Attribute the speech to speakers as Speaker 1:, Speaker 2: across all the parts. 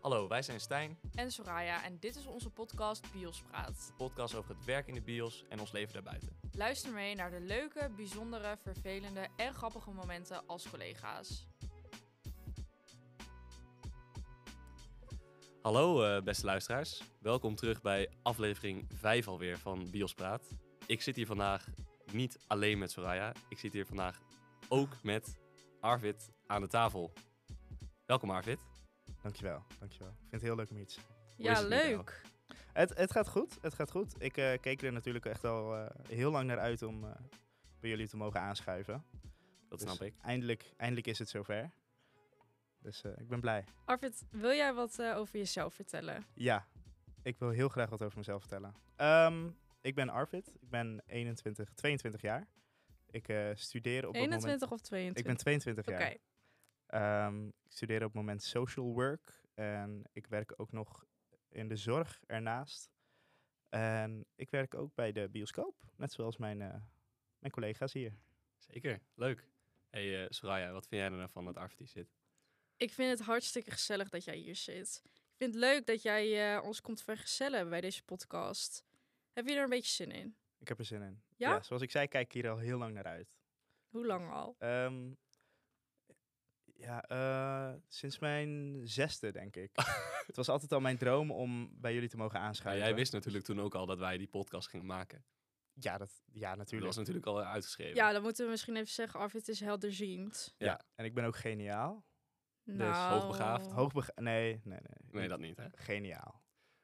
Speaker 1: Hallo, wij zijn Stijn,
Speaker 2: en Soraya en dit is onze podcast Biospraat.
Speaker 1: podcast over het werk in de bios en ons leven daarbuiten.
Speaker 2: Luister mee naar de leuke, bijzondere, vervelende en grappige momenten als collega's.
Speaker 1: Hallo eh, beste luisteraars, welkom terug bij aflevering 5 alweer van Bios Praat. Ik zit hier vandaag niet alleen met Soraya, ik zit hier vandaag ook met Arvid aan de tafel. Welkom Arvid.
Speaker 3: Dankjewel, dankjewel. Ik vind het heel leuk om hier te zijn.
Speaker 1: is
Speaker 2: Ja,
Speaker 1: het met
Speaker 2: leuk.
Speaker 3: Het, het gaat goed, het gaat goed. Ik eh, keek er natuurlijk echt al eh, heel lang naar uit om eh, bij jullie te mogen aanschuiven.
Speaker 1: Dat
Speaker 3: Dus
Speaker 1: snap ik.
Speaker 3: Eindelijk, eindelijk is het zover. Dus eh, ik ben blij.
Speaker 2: Arvid, wil jij wat eh, over jezelf vertellen?
Speaker 3: Ja, ik wil heel graag wat over mezelf vertellen. Ehm, ik ben Arvid, ik ben 21, 22 jaar. Ik eh, studeer op het moment...
Speaker 2: 21 of
Speaker 3: Ik
Speaker 2: 22?
Speaker 3: ben 22
Speaker 2: Oké,
Speaker 3: jaar. Ehm, ik studeer op het moment social work en ik werk ook nog in de zorg ernaast. En ik werk ook bij de bioscoop, net zoals mijn, eh, mijn collega's hier.
Speaker 1: Zeker, leuk. Hey eh, Soraya, wat vind jij er nou van dat Arvid hier zit?
Speaker 2: ik vind het hartstikke gezellig dat jij hier zit. Ik vind het leuk dat jij eh, ons komt vergezellen bij deze podcast. Heb je er een beetje zin in?
Speaker 3: Ik heb er zin in.
Speaker 2: Ja?
Speaker 3: zoals ik zei, kijk ik hier al heel lang naar uit.
Speaker 2: Hoe lang al?
Speaker 3: Ehm, ja, eh, sinds mijn zesde, denk ik. het was altijd al mijn droom om bij jullie te mogen
Speaker 1: Nou,
Speaker 3: aanschuiven.
Speaker 1: jij wist natuurlijk toen ook al dat wij die podcast gingen maken.
Speaker 3: Dus Ja, dat, ja
Speaker 1: Dat
Speaker 3: natuurlijk.
Speaker 1: was natuurlijk al uitgeschreven.
Speaker 2: Ja, dan moeten we misschien even zeggen, Arvid is helderziend.
Speaker 1: Ja.
Speaker 3: En ik ben ook geniaal. dus
Speaker 2: Nou,
Speaker 1: hoogbegaafd,
Speaker 3: Hoogbe... Nee, nee, nee.
Speaker 1: Nee, dat niet hè.
Speaker 3: Geniaal.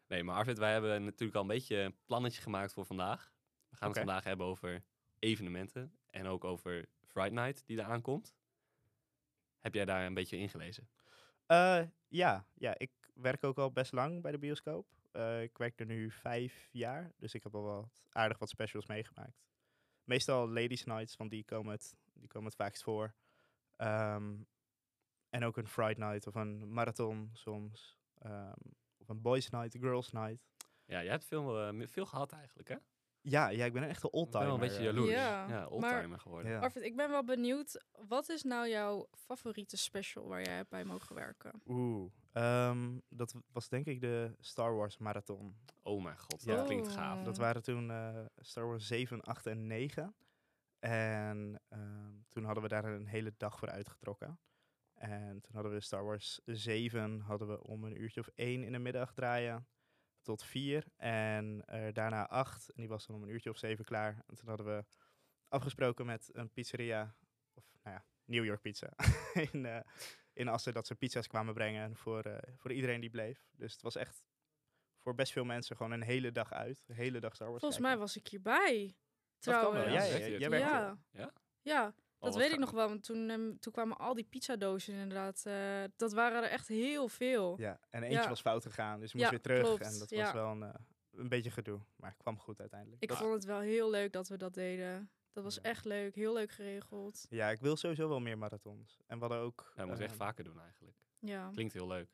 Speaker 1: Nee, maar Arvid, wij hebben natuurlijk al een beetje een plannetje gemaakt voor vandaag. We gaan
Speaker 3: Oké.
Speaker 1: het vandaag hebben over evenementen en ook over Friday Night die eraan komt. Heb jij daar een beetje in gelezen?
Speaker 3: Eh, ja, ja, ik werk ook al best lang bij de bioscoop. Eh, ik werk er nu vijf jaar, dus ik heb al wat, aardig wat specials meegemaakt. Meestal ladies' nights, want die komen het, die komen het vaakst voor. Ehm, en ook een Friday night of een marathon soms. Ehm, of een boys' night, girls' night.
Speaker 1: Ja, jij hebt veel, eh, veel gehad eigenlijk, hè? Ik
Speaker 3: Ja, ja, ik ben een echte
Speaker 1: ben
Speaker 3: oldtimer.
Speaker 1: wel een beetje
Speaker 3: eh.
Speaker 1: jaloers.
Speaker 2: Ja,
Speaker 1: Ja, oldtimer geworden.
Speaker 3: Ja.
Speaker 2: Arvid, ik ben wel benieuwd. Wat is nou jouw favoriete special waar jij hebt bij mogen werken?
Speaker 3: Oeh, ehm, dat was denk ik de Star Wars marathon.
Speaker 1: Oh mijn god,
Speaker 3: Ja.
Speaker 1: dat klinkt gaaf.
Speaker 2: Oh.
Speaker 3: Dat
Speaker 2: Mm.
Speaker 3: waren toen eh, Star Wars 7, 8 en 9. En ehm, toen hadden we daar een hele dag voor uitgetrokken. En toen hadden we Star Wars 7 hadden we om een uurtje of 1 in de middag draaien. Tot 4. En eh, daarna 8. En die was dan om een uurtje of 7 klaar. En toen hadden we afgesproken met een pizzeria. Of nou ja, New York Pizza. in, eh in Assen dat ze pizza's kwamen brengen voor, eh, voor iedereen die bleef. Dus het was echt voor best veel mensen gewoon een hele dag uit. Een hele dag Star Wars
Speaker 2: Volgens mij
Speaker 3: kijken.
Speaker 2: was ik hierbij.
Speaker 3: kan wel,
Speaker 2: Trouwens.
Speaker 3: ja,
Speaker 1: Werkte
Speaker 3: ja,
Speaker 1: je
Speaker 3: Oh, jij
Speaker 1: toen?
Speaker 3: werkte
Speaker 2: Ja.
Speaker 1: Ja?
Speaker 2: Ja, dat
Speaker 1: wat
Speaker 2: weet ik
Speaker 1: gaaf.
Speaker 2: nog wel. Want toen, ehm, toen kwamen al die pizzadozen inderdaad. eh, dat waren er echt heel veel.
Speaker 3: Ja, en eentje
Speaker 2: Ja.
Speaker 3: was fout gegaan, dus je
Speaker 2: Ja,
Speaker 3: moest weer terug.
Speaker 2: klopt,
Speaker 3: En dat
Speaker 2: ja.
Speaker 3: was wel een, eh, een beetje gedoe, maar het kwam goed uiteindelijk.
Speaker 2: Ik
Speaker 3: Dat-
Speaker 2: vond het wel heel leuk dat we dat deden. Dat was
Speaker 3: Ja.
Speaker 2: echt leuk. Heel leuk geregeld.
Speaker 3: Ja, ik wil sowieso wel meer marathons. En we hadden ook...
Speaker 1: Ja, dat moet je echt
Speaker 3: ehm,
Speaker 1: vaker doen eigenlijk.
Speaker 2: Ja.
Speaker 1: Klinkt heel leuk.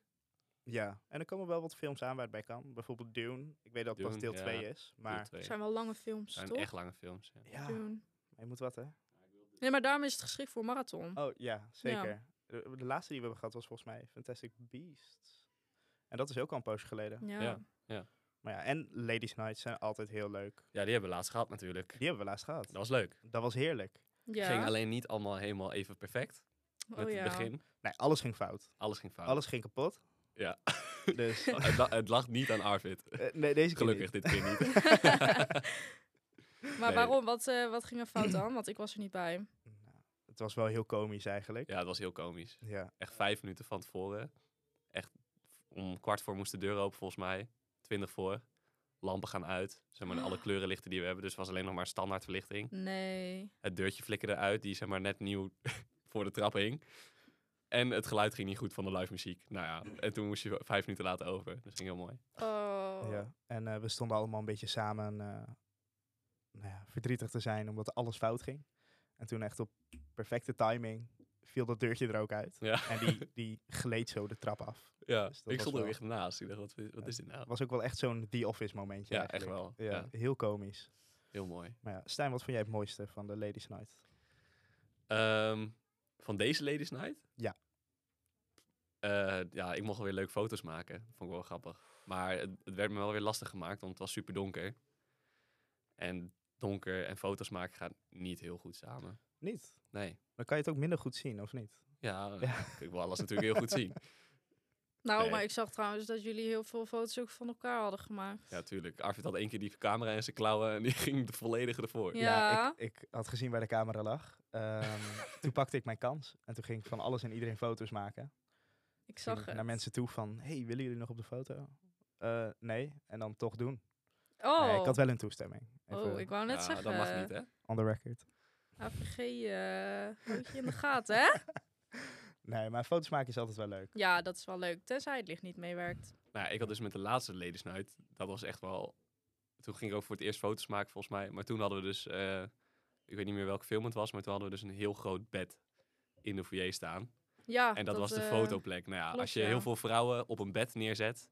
Speaker 3: Ja, en er komen wel wat films aan waar het bij kan. Bijvoorbeeld Dune. Ik weet dat het pas
Speaker 1: Dune,
Speaker 3: deel
Speaker 1: ja,
Speaker 3: 2 is, maar...
Speaker 1: Maar twee.
Speaker 2: Het zijn wel lange films,
Speaker 1: zijn
Speaker 2: toch?
Speaker 1: eh, echt lange films. Ja.
Speaker 3: Ja, maar
Speaker 2: Doen.
Speaker 3: je moet wat, hè?
Speaker 2: Nee, maar daarom is het geschikt voor marathon.
Speaker 3: Oh, ja, zeker. De, de laatste die we hebben gehad was volgens mij Fantastic Beasts. En dat is ook al een poosje geleden.
Speaker 2: ja.
Speaker 1: ja.
Speaker 3: Maar ja, en Ladies Night zijn altijd heel leuk.
Speaker 1: Ja, die hebben we laatst gehad natuurlijk.
Speaker 3: Die hebben we laatst gehad.
Speaker 1: Dat was leuk.
Speaker 3: Dat was heerlijk.
Speaker 2: Ja.
Speaker 1: Ging alleen niet allemaal helemaal even perfect.
Speaker 2: Oh
Speaker 1: met
Speaker 2: ja.
Speaker 1: het begin.
Speaker 3: Nee, alles ging fout.
Speaker 1: Alles ging fout.
Speaker 3: Alles ging kapot.
Speaker 1: Ja.
Speaker 3: Dus
Speaker 1: het, la- het lag niet aan Arvid.
Speaker 3: eh, nee, deze keer
Speaker 1: Gelukkig
Speaker 3: niet.
Speaker 1: dit keer niet.
Speaker 2: Maar
Speaker 1: Nee.
Speaker 2: waarom? Wat, eh, wat ging er fout dan? Want ik was er niet bij.
Speaker 3: Nou, het was wel heel komisch eigenlijk.
Speaker 1: Ja, het was heel komisch.
Speaker 3: Ja.
Speaker 1: Echt vijf minuten van tevoren. Echt om kwart voor moest de deur open volgens mij. Twintig voor. Lampen gaan uit. Zeg maar alle kleurenlichten die we hebben. Dus het was alleen nog maar standaard verlichting.
Speaker 2: Nee.
Speaker 1: Het deurtje flikkerde uit. Die zeg maar net nieuw voor de trap hing. En het geluid ging niet goed van de live muziek. Nou ja, en toen moest je vijf minuten later over. Dat ging heel mooi.
Speaker 2: Oh.
Speaker 3: Ja. En eh, we stonden allemaal een beetje samen eh, nou ja, verdrietig te zijn omdat alles fout ging. En toen echt op perfecte timing viel dat deurtje er ook uit.
Speaker 1: Ja,
Speaker 3: En die, die gleed zo de trap af.
Speaker 1: ja.
Speaker 3: Dus dat
Speaker 1: ik
Speaker 3: was
Speaker 1: stond er ook
Speaker 3: wel-
Speaker 1: echt naast. Ik dacht, wat, wat is dit nou?
Speaker 3: Het was ook wel echt zo'n The Office momentje
Speaker 1: Ja, echt
Speaker 3: eigenlijk.
Speaker 1: wel.
Speaker 3: Ja,
Speaker 1: Ja.
Speaker 3: Heel komisch.
Speaker 1: Heel mooi.
Speaker 3: Maar ja, Stijn, wat vond jij het mooiste van de Ladies Night?
Speaker 1: Ehm, van deze Ladies Night?
Speaker 3: Ja.
Speaker 1: Eh, eh, ja, ik mocht wel weer leuke foto's maken. Vond ik wel grappig. Maar het, het werd me wel weer lastig gemaakt, want het was super donker. En donker en foto's maken gaat niet heel goed samen.
Speaker 3: Niet.
Speaker 1: Nee.
Speaker 3: Dan kan je het ook minder goed zien, of niet?
Speaker 1: Ja,
Speaker 3: Ja.
Speaker 1: ik wil alles natuurlijk heel goed zien.
Speaker 2: Nou,
Speaker 1: Nee.
Speaker 2: maar ik zag trouwens dat jullie heel veel foto's ook van elkaar hadden gemaakt.
Speaker 1: Ja, tuurlijk. Arvid had één keer die camera in zijn klauwen en die ging de volledige ervoor.
Speaker 2: Ja.
Speaker 3: ik, ik had gezien waar de camera lag. Ehm, toen pakte ik mijn kans. En toen ging ik van alles en iedereen foto's maken.
Speaker 2: ik
Speaker 3: Ging
Speaker 2: zag
Speaker 3: ik
Speaker 2: het.
Speaker 3: naar mensen toe van, hey, willen jullie nog op de foto? Eh, nee. En dan toch doen.
Speaker 2: Oh,
Speaker 3: Nee, ik had wel een toestemming. Even
Speaker 2: oh ik wou net
Speaker 1: Ja,
Speaker 2: zeggen.
Speaker 1: dat mag niet, hè?
Speaker 3: on the record.
Speaker 2: AVG, eh houd je in de gaten, hè?
Speaker 3: Nee, maar foto's maken is altijd wel leuk.
Speaker 2: Ja, dat is wel leuk. Tenzij het licht niet meewerkt.
Speaker 1: Nou, ja, ik had dus met de laatste ledensnuit, dat was echt wel... Toen ging ik ook voor het eerst foto's maken, volgens mij. Maar toen hadden we dus, eh, ik weet niet meer welke film het was, maar toen hadden we dus een heel groot bed in de foyer staan.
Speaker 2: Ja,
Speaker 1: en dat, was de
Speaker 2: eh,
Speaker 1: fotoplek. Nou ja,
Speaker 2: klopt,
Speaker 1: als je
Speaker 2: ja.
Speaker 1: heel veel vrouwen op een bed neerzet,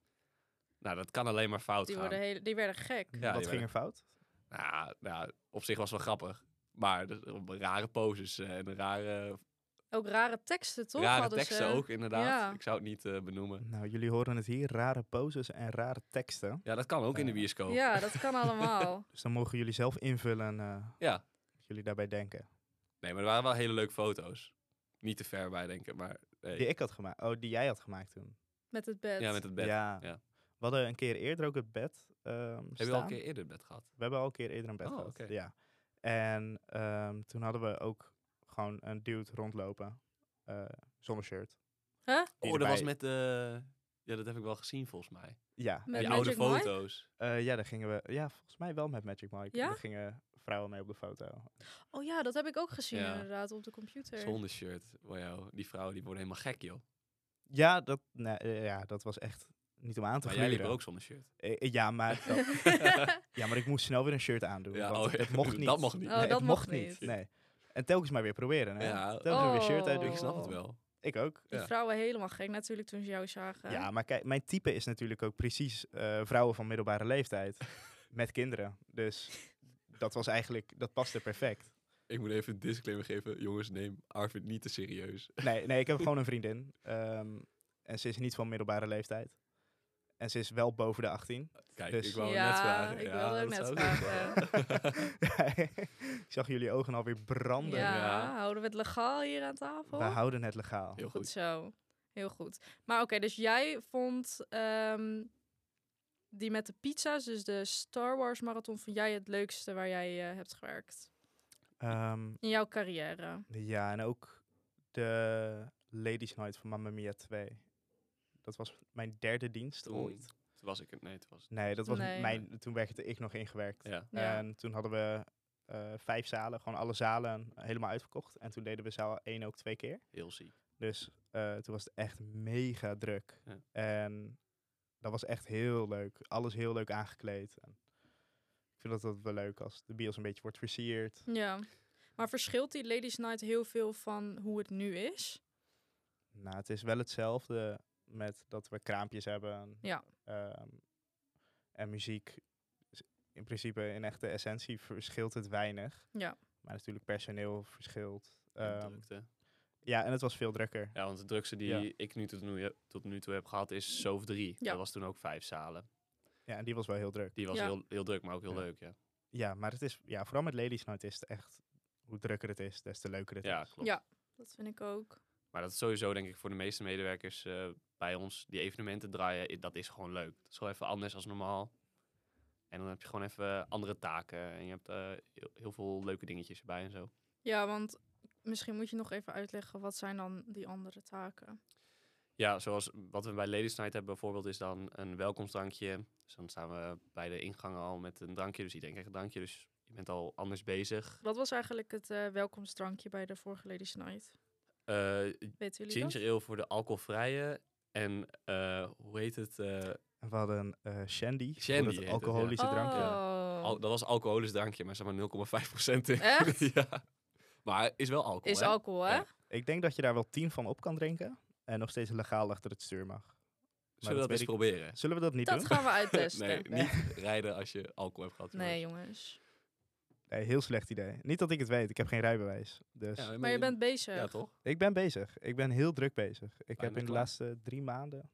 Speaker 1: nou, dat kan alleen maar fout
Speaker 2: Die,
Speaker 1: gaan.
Speaker 2: worden hele, die werden gek.
Speaker 1: Ja,
Speaker 3: Wat
Speaker 1: ja.
Speaker 3: ging er fout?
Speaker 1: Nou, nou, op zich was het wel grappig. Maar dus, op rare poses eh, en rare,
Speaker 2: Ook rare teksten, toch?
Speaker 1: rare
Speaker 2: hadden
Speaker 1: teksten
Speaker 2: ze.
Speaker 1: ook, inderdaad.
Speaker 2: Ja.
Speaker 1: Ik zou het niet eh, benoemen.
Speaker 3: Nou, jullie horen het hier. Rare poses en rare teksten.
Speaker 1: Ja, dat kan ook in de
Speaker 3: Ja.
Speaker 1: bioscoop.
Speaker 2: Ja, dat kan allemaal.
Speaker 3: Dus dan mogen jullie zelf invullen eh,
Speaker 1: ja.
Speaker 3: wat jullie daarbij denken.
Speaker 1: Nee, maar er waren wel hele leuke foto's. Niet te ver bij, denk ik, maar... nee.
Speaker 3: Die ik had gemaakt. Oh, die jij had gemaakt toen.
Speaker 2: Met het bed.
Speaker 1: Ja, met het bed.
Speaker 3: Ja.
Speaker 1: ja.
Speaker 3: We hadden een keer eerder ook het bed ehm
Speaker 1: Heb
Speaker 3: staan.
Speaker 1: je al een keer eerder het bed gehad?
Speaker 3: We hebben al een keer eerder een bed
Speaker 1: Oh,
Speaker 3: gehad.
Speaker 1: oké.
Speaker 3: Ja. En ehm, toen hadden we ook gewoon een dude rondlopen. eh, zonder shirt.
Speaker 2: Huh?
Speaker 1: Oh, dat
Speaker 3: Die erbij-
Speaker 1: was met de... Ja, dat heb ik wel gezien, volgens mij.
Speaker 3: Ja.
Speaker 2: Met
Speaker 1: die
Speaker 2: Magic
Speaker 1: oude
Speaker 2: Mike?
Speaker 1: foto's.
Speaker 3: Eh, ja, daar gingen we... Ja, volgens mij wel met Magic Mike.
Speaker 2: Ja?
Speaker 3: Daar gingen vrouwen mee op de foto.
Speaker 2: Oh ja, dat heb ik ook gezien
Speaker 1: Ja.
Speaker 2: inderdaad op de computer.
Speaker 1: Zonder shirt. Wow, joh. die vrouwen die worden helemaal gek, joh.
Speaker 3: Ja, dat, nee, eh, ja, dat was echt niet om aan te
Speaker 1: Maar jij liep
Speaker 3: gluren.
Speaker 1: er ook zonder shirt.
Speaker 3: Eh, eh, ja, maar dat- ja, maar ik moest snel weer een shirt aandoen.
Speaker 1: Ja,
Speaker 3: want
Speaker 1: oh ja,
Speaker 3: het mocht niet.
Speaker 1: dat mocht niet.
Speaker 2: Oh, dat
Speaker 3: het
Speaker 2: mocht niet.
Speaker 3: Nee. En telkens maar weer proberen. Hè?
Speaker 1: Ja.
Speaker 3: Telkens weer shirt
Speaker 2: Oh.
Speaker 3: uitdoen.
Speaker 1: Ik snap het wel.
Speaker 3: Ik ook.
Speaker 2: Die
Speaker 1: Ja.
Speaker 2: vrouwen helemaal gek natuurlijk toen ze jou zagen.
Speaker 3: Ja, maar kijk, mijn type is natuurlijk ook precies eh, vrouwen van middelbare leeftijd. met kinderen. Dus dat was eigenlijk, dat paste perfect.
Speaker 1: Ik moet even een disclaimer geven. Jongens, neem Arvid niet te serieus.
Speaker 3: Nee, nee ik heb gewoon een vriendin. ehm, en ze is niet van middelbare leeftijd. En ze is wel boven de 18.
Speaker 1: Kijk,
Speaker 3: Dus-
Speaker 1: ik wou
Speaker 2: Ja,
Speaker 1: net vragen.
Speaker 2: ik wilde
Speaker 1: dat
Speaker 2: ook net
Speaker 1: zou ik
Speaker 2: vragen.
Speaker 1: zeggen.
Speaker 3: ik zag jullie ogen alweer branden.
Speaker 2: Ja,
Speaker 1: Ja.
Speaker 2: houden we het legaal hier aan tafel?
Speaker 3: We houden het legaal.
Speaker 1: Heel
Speaker 2: Goed
Speaker 1: goed.
Speaker 2: zo. Heel goed. Maar oké, dus jij vond ehm, die met de pizza's, dus de Star Wars marathon, vond jij het leukste waar jij eh, hebt gewerkt?
Speaker 3: Ehm,
Speaker 2: In jouw carrière?
Speaker 3: ja, en ook de Ladies Night van Mamma Mia 2. Dat was mijn derde dienst
Speaker 1: Toen-
Speaker 3: ooit.
Speaker 1: Toen was ik het. Nee, toen was het.
Speaker 3: Nee, dat was
Speaker 2: Nee.
Speaker 3: mijn. Toen werkte ik nog ingewerkt.
Speaker 1: Ja.
Speaker 2: Ja.
Speaker 3: En toen hadden we eh, vijf zalen, gewoon alle zalen helemaal uitverkocht. En toen deden we zaal 1 ook twee keer.
Speaker 1: Heel ziek.
Speaker 3: Dus eh, toen was het echt mega druk.
Speaker 1: Ja.
Speaker 3: En dat was echt heel leuk. Alles heel leuk aangekleed. En ik vind dat altijd wel leuk als de bios een beetje wordt versierd.
Speaker 2: Ja. Maar verschilt die Ladies Night heel veel van hoe het nu is?
Speaker 3: Nou, het is wel hetzelfde met dat we kraampjes hebben.
Speaker 2: Ja.
Speaker 3: ehm, en muziek. Dus in principe, in echte essentie, verschilt het weinig.
Speaker 2: Ja.
Speaker 3: Maar natuurlijk personeel verschilt.
Speaker 1: En
Speaker 3: Ehm,
Speaker 1: drukte.
Speaker 3: ja, en het was veel drukker.
Speaker 1: Ja, want de drukste die
Speaker 3: Ja.
Speaker 1: ik nu tot, nu tot nu toe heb gehad is SOF 3.
Speaker 2: Ja.
Speaker 1: Dat was toen ook vijf zalen.
Speaker 3: Ja, en die was wel heel druk.
Speaker 1: Die was
Speaker 2: Ja.
Speaker 1: heel, heel druk, maar ook heel
Speaker 3: Ja.
Speaker 1: leuk, ja.
Speaker 3: Ja, maar het is, ja, vooral met Ladies Night is het echt, hoe drukker het is, des te leuker het
Speaker 1: Ja,
Speaker 3: is.
Speaker 1: klopt.
Speaker 2: Ja. Dat vind ik ook.
Speaker 1: Maar dat is sowieso, denk ik, voor de meeste medewerkers eh, bij ons, die evenementen draaien, i- dat is gewoon leuk. Het is gewoon even anders dan normaal. En dan heb je gewoon even andere taken. En je hebt eh, heel, heel veel leuke dingetjes erbij en zo.
Speaker 2: Ja, want misschien moet je nog even uitleggen wat zijn dan die andere taken.
Speaker 1: Ja, zoals wat we bij Ladies Night hebben bijvoorbeeld, is dan een welkomstdrankje. Dus dan staan we bij de ingangen al met een drankje. Dus iedereen krijgt een drankje. Dus je bent al anders bezig.
Speaker 2: Wat was eigenlijk het eh, welkomstdrankje bij de vorige Ladies Night?
Speaker 1: Eh,
Speaker 2: Weten jullie dat?
Speaker 1: Ginger ale voor de alcoholvrije. En eh, hoe heet het? eh,
Speaker 3: En we hadden eh Shandy, voor
Speaker 1: Shandy heet
Speaker 3: dat
Speaker 1: het,
Speaker 3: alcoholische drankje.
Speaker 2: Oh.
Speaker 1: al- dat was een alcoholisch drankje, maar zeg maar 0,5% in.
Speaker 2: Echt?
Speaker 1: ja. Maar is wel alcohol,
Speaker 2: Is
Speaker 1: hè?
Speaker 2: alcohol, hè?
Speaker 1: Ja.
Speaker 3: Ik denk dat je daar wel tien van op kan drinken en nog steeds legaal achter het stuur mag. Maar
Speaker 1: Zullen we
Speaker 3: dat
Speaker 1: dat
Speaker 3: weet
Speaker 1: eens
Speaker 3: ik-
Speaker 1: proberen?
Speaker 3: Zullen we dat niet
Speaker 2: Dat
Speaker 3: doen?
Speaker 2: gaan we uittesten.
Speaker 1: Nee,
Speaker 2: nee.
Speaker 1: niet rijden als je alcohol hebt gehad. jongens.
Speaker 2: jongens.
Speaker 3: Nee, heel slecht idee. Niet dat ik het weet, ik heb geen rijbewijs. Dus
Speaker 1: Ja,
Speaker 2: Maar je bent eh, bezig.
Speaker 1: Ja, toch?
Speaker 3: ik ben bezig. Ik ben heel druk bezig. Ik
Speaker 1: Bijna
Speaker 3: heb in de
Speaker 1: klaar.
Speaker 3: laatste drie maanden.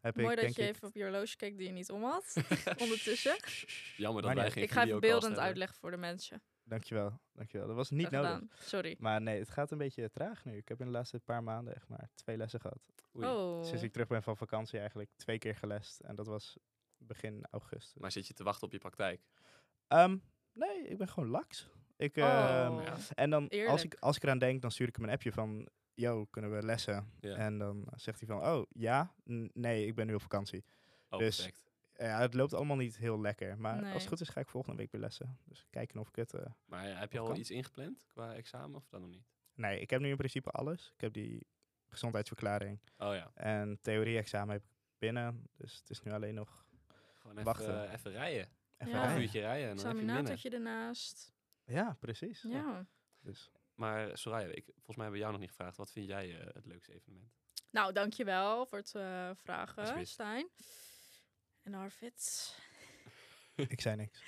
Speaker 3: Heb
Speaker 2: Mooi
Speaker 3: ik,
Speaker 2: dat
Speaker 3: denk
Speaker 2: je
Speaker 3: ik,
Speaker 2: even op je horloge keek die je niet om had. ondertussen.
Speaker 1: Jammer dat
Speaker 3: Maar
Speaker 1: wij
Speaker 3: niet
Speaker 1: geen
Speaker 2: ik ga even
Speaker 1: videocast
Speaker 2: beeldend
Speaker 1: hebben.
Speaker 2: uitleggen voor de mensen.
Speaker 3: Dankjewel, dankjewel. Dat was niet
Speaker 2: Graag
Speaker 3: nodig.
Speaker 2: gedaan. Sorry.
Speaker 3: Maar nee, het gaat een beetje traag nu. Ik heb in de laatste paar maanden echt maar twee lessen gehad.
Speaker 1: Oei.
Speaker 2: Oh.
Speaker 3: Sinds ik terug ben van vakantie eigenlijk twee keer gelest. En dat was begin augustus.
Speaker 1: Maar zit je te wachten op je praktijk?
Speaker 3: Ehm, nee, ik ben gewoon laks. Ik, ehm,
Speaker 2: Oh.
Speaker 1: ja.
Speaker 3: en dan als ik,
Speaker 2: Eerlijk.
Speaker 3: als ik eraan denk, dan stuur ik hem een appje van... Yo, kunnen we lessen?
Speaker 1: Ja.
Speaker 3: En dan zegt hij van, oh, ja? N- nee, ik ben nu op vakantie.
Speaker 1: Oh,
Speaker 3: Dus-
Speaker 1: perfect.
Speaker 3: Ja, het loopt allemaal niet heel lekker. Maar
Speaker 2: Nee.
Speaker 3: als het goed is, ga ik volgende week weer lessen. Dus kijken of ik het... eh,
Speaker 1: Maar eh, heb je
Speaker 3: Of
Speaker 1: al
Speaker 3: kan.
Speaker 1: iets ingepland qua examen of dan nog niet?
Speaker 3: Nee, ik heb nu in principe alles. Ik heb die gezondheidsverklaring.
Speaker 1: Oh ja,
Speaker 3: En theorie-examen heb ik binnen. Dus het is nu alleen nog...
Speaker 1: gewoon even,
Speaker 3: Wachten.
Speaker 1: eh, even rijden.
Speaker 3: even
Speaker 2: Ja.
Speaker 1: Een half
Speaker 3: rijden.
Speaker 1: uurtje rijden en dan heb je hem binnen.
Speaker 2: Examinatortje ernaast.
Speaker 3: Ja, precies.
Speaker 2: Ja.
Speaker 3: Dus.
Speaker 1: Maar eh, Soraya, ik, volgens mij hebben we jou nog niet gevraagd. Wat vind jij eh, het leukste evenement?
Speaker 2: Nou, dankjewel voor het eh, vragen,
Speaker 1: Alsjeblieft.
Speaker 2: Stijn. En Arvid.
Speaker 3: ik zei niks.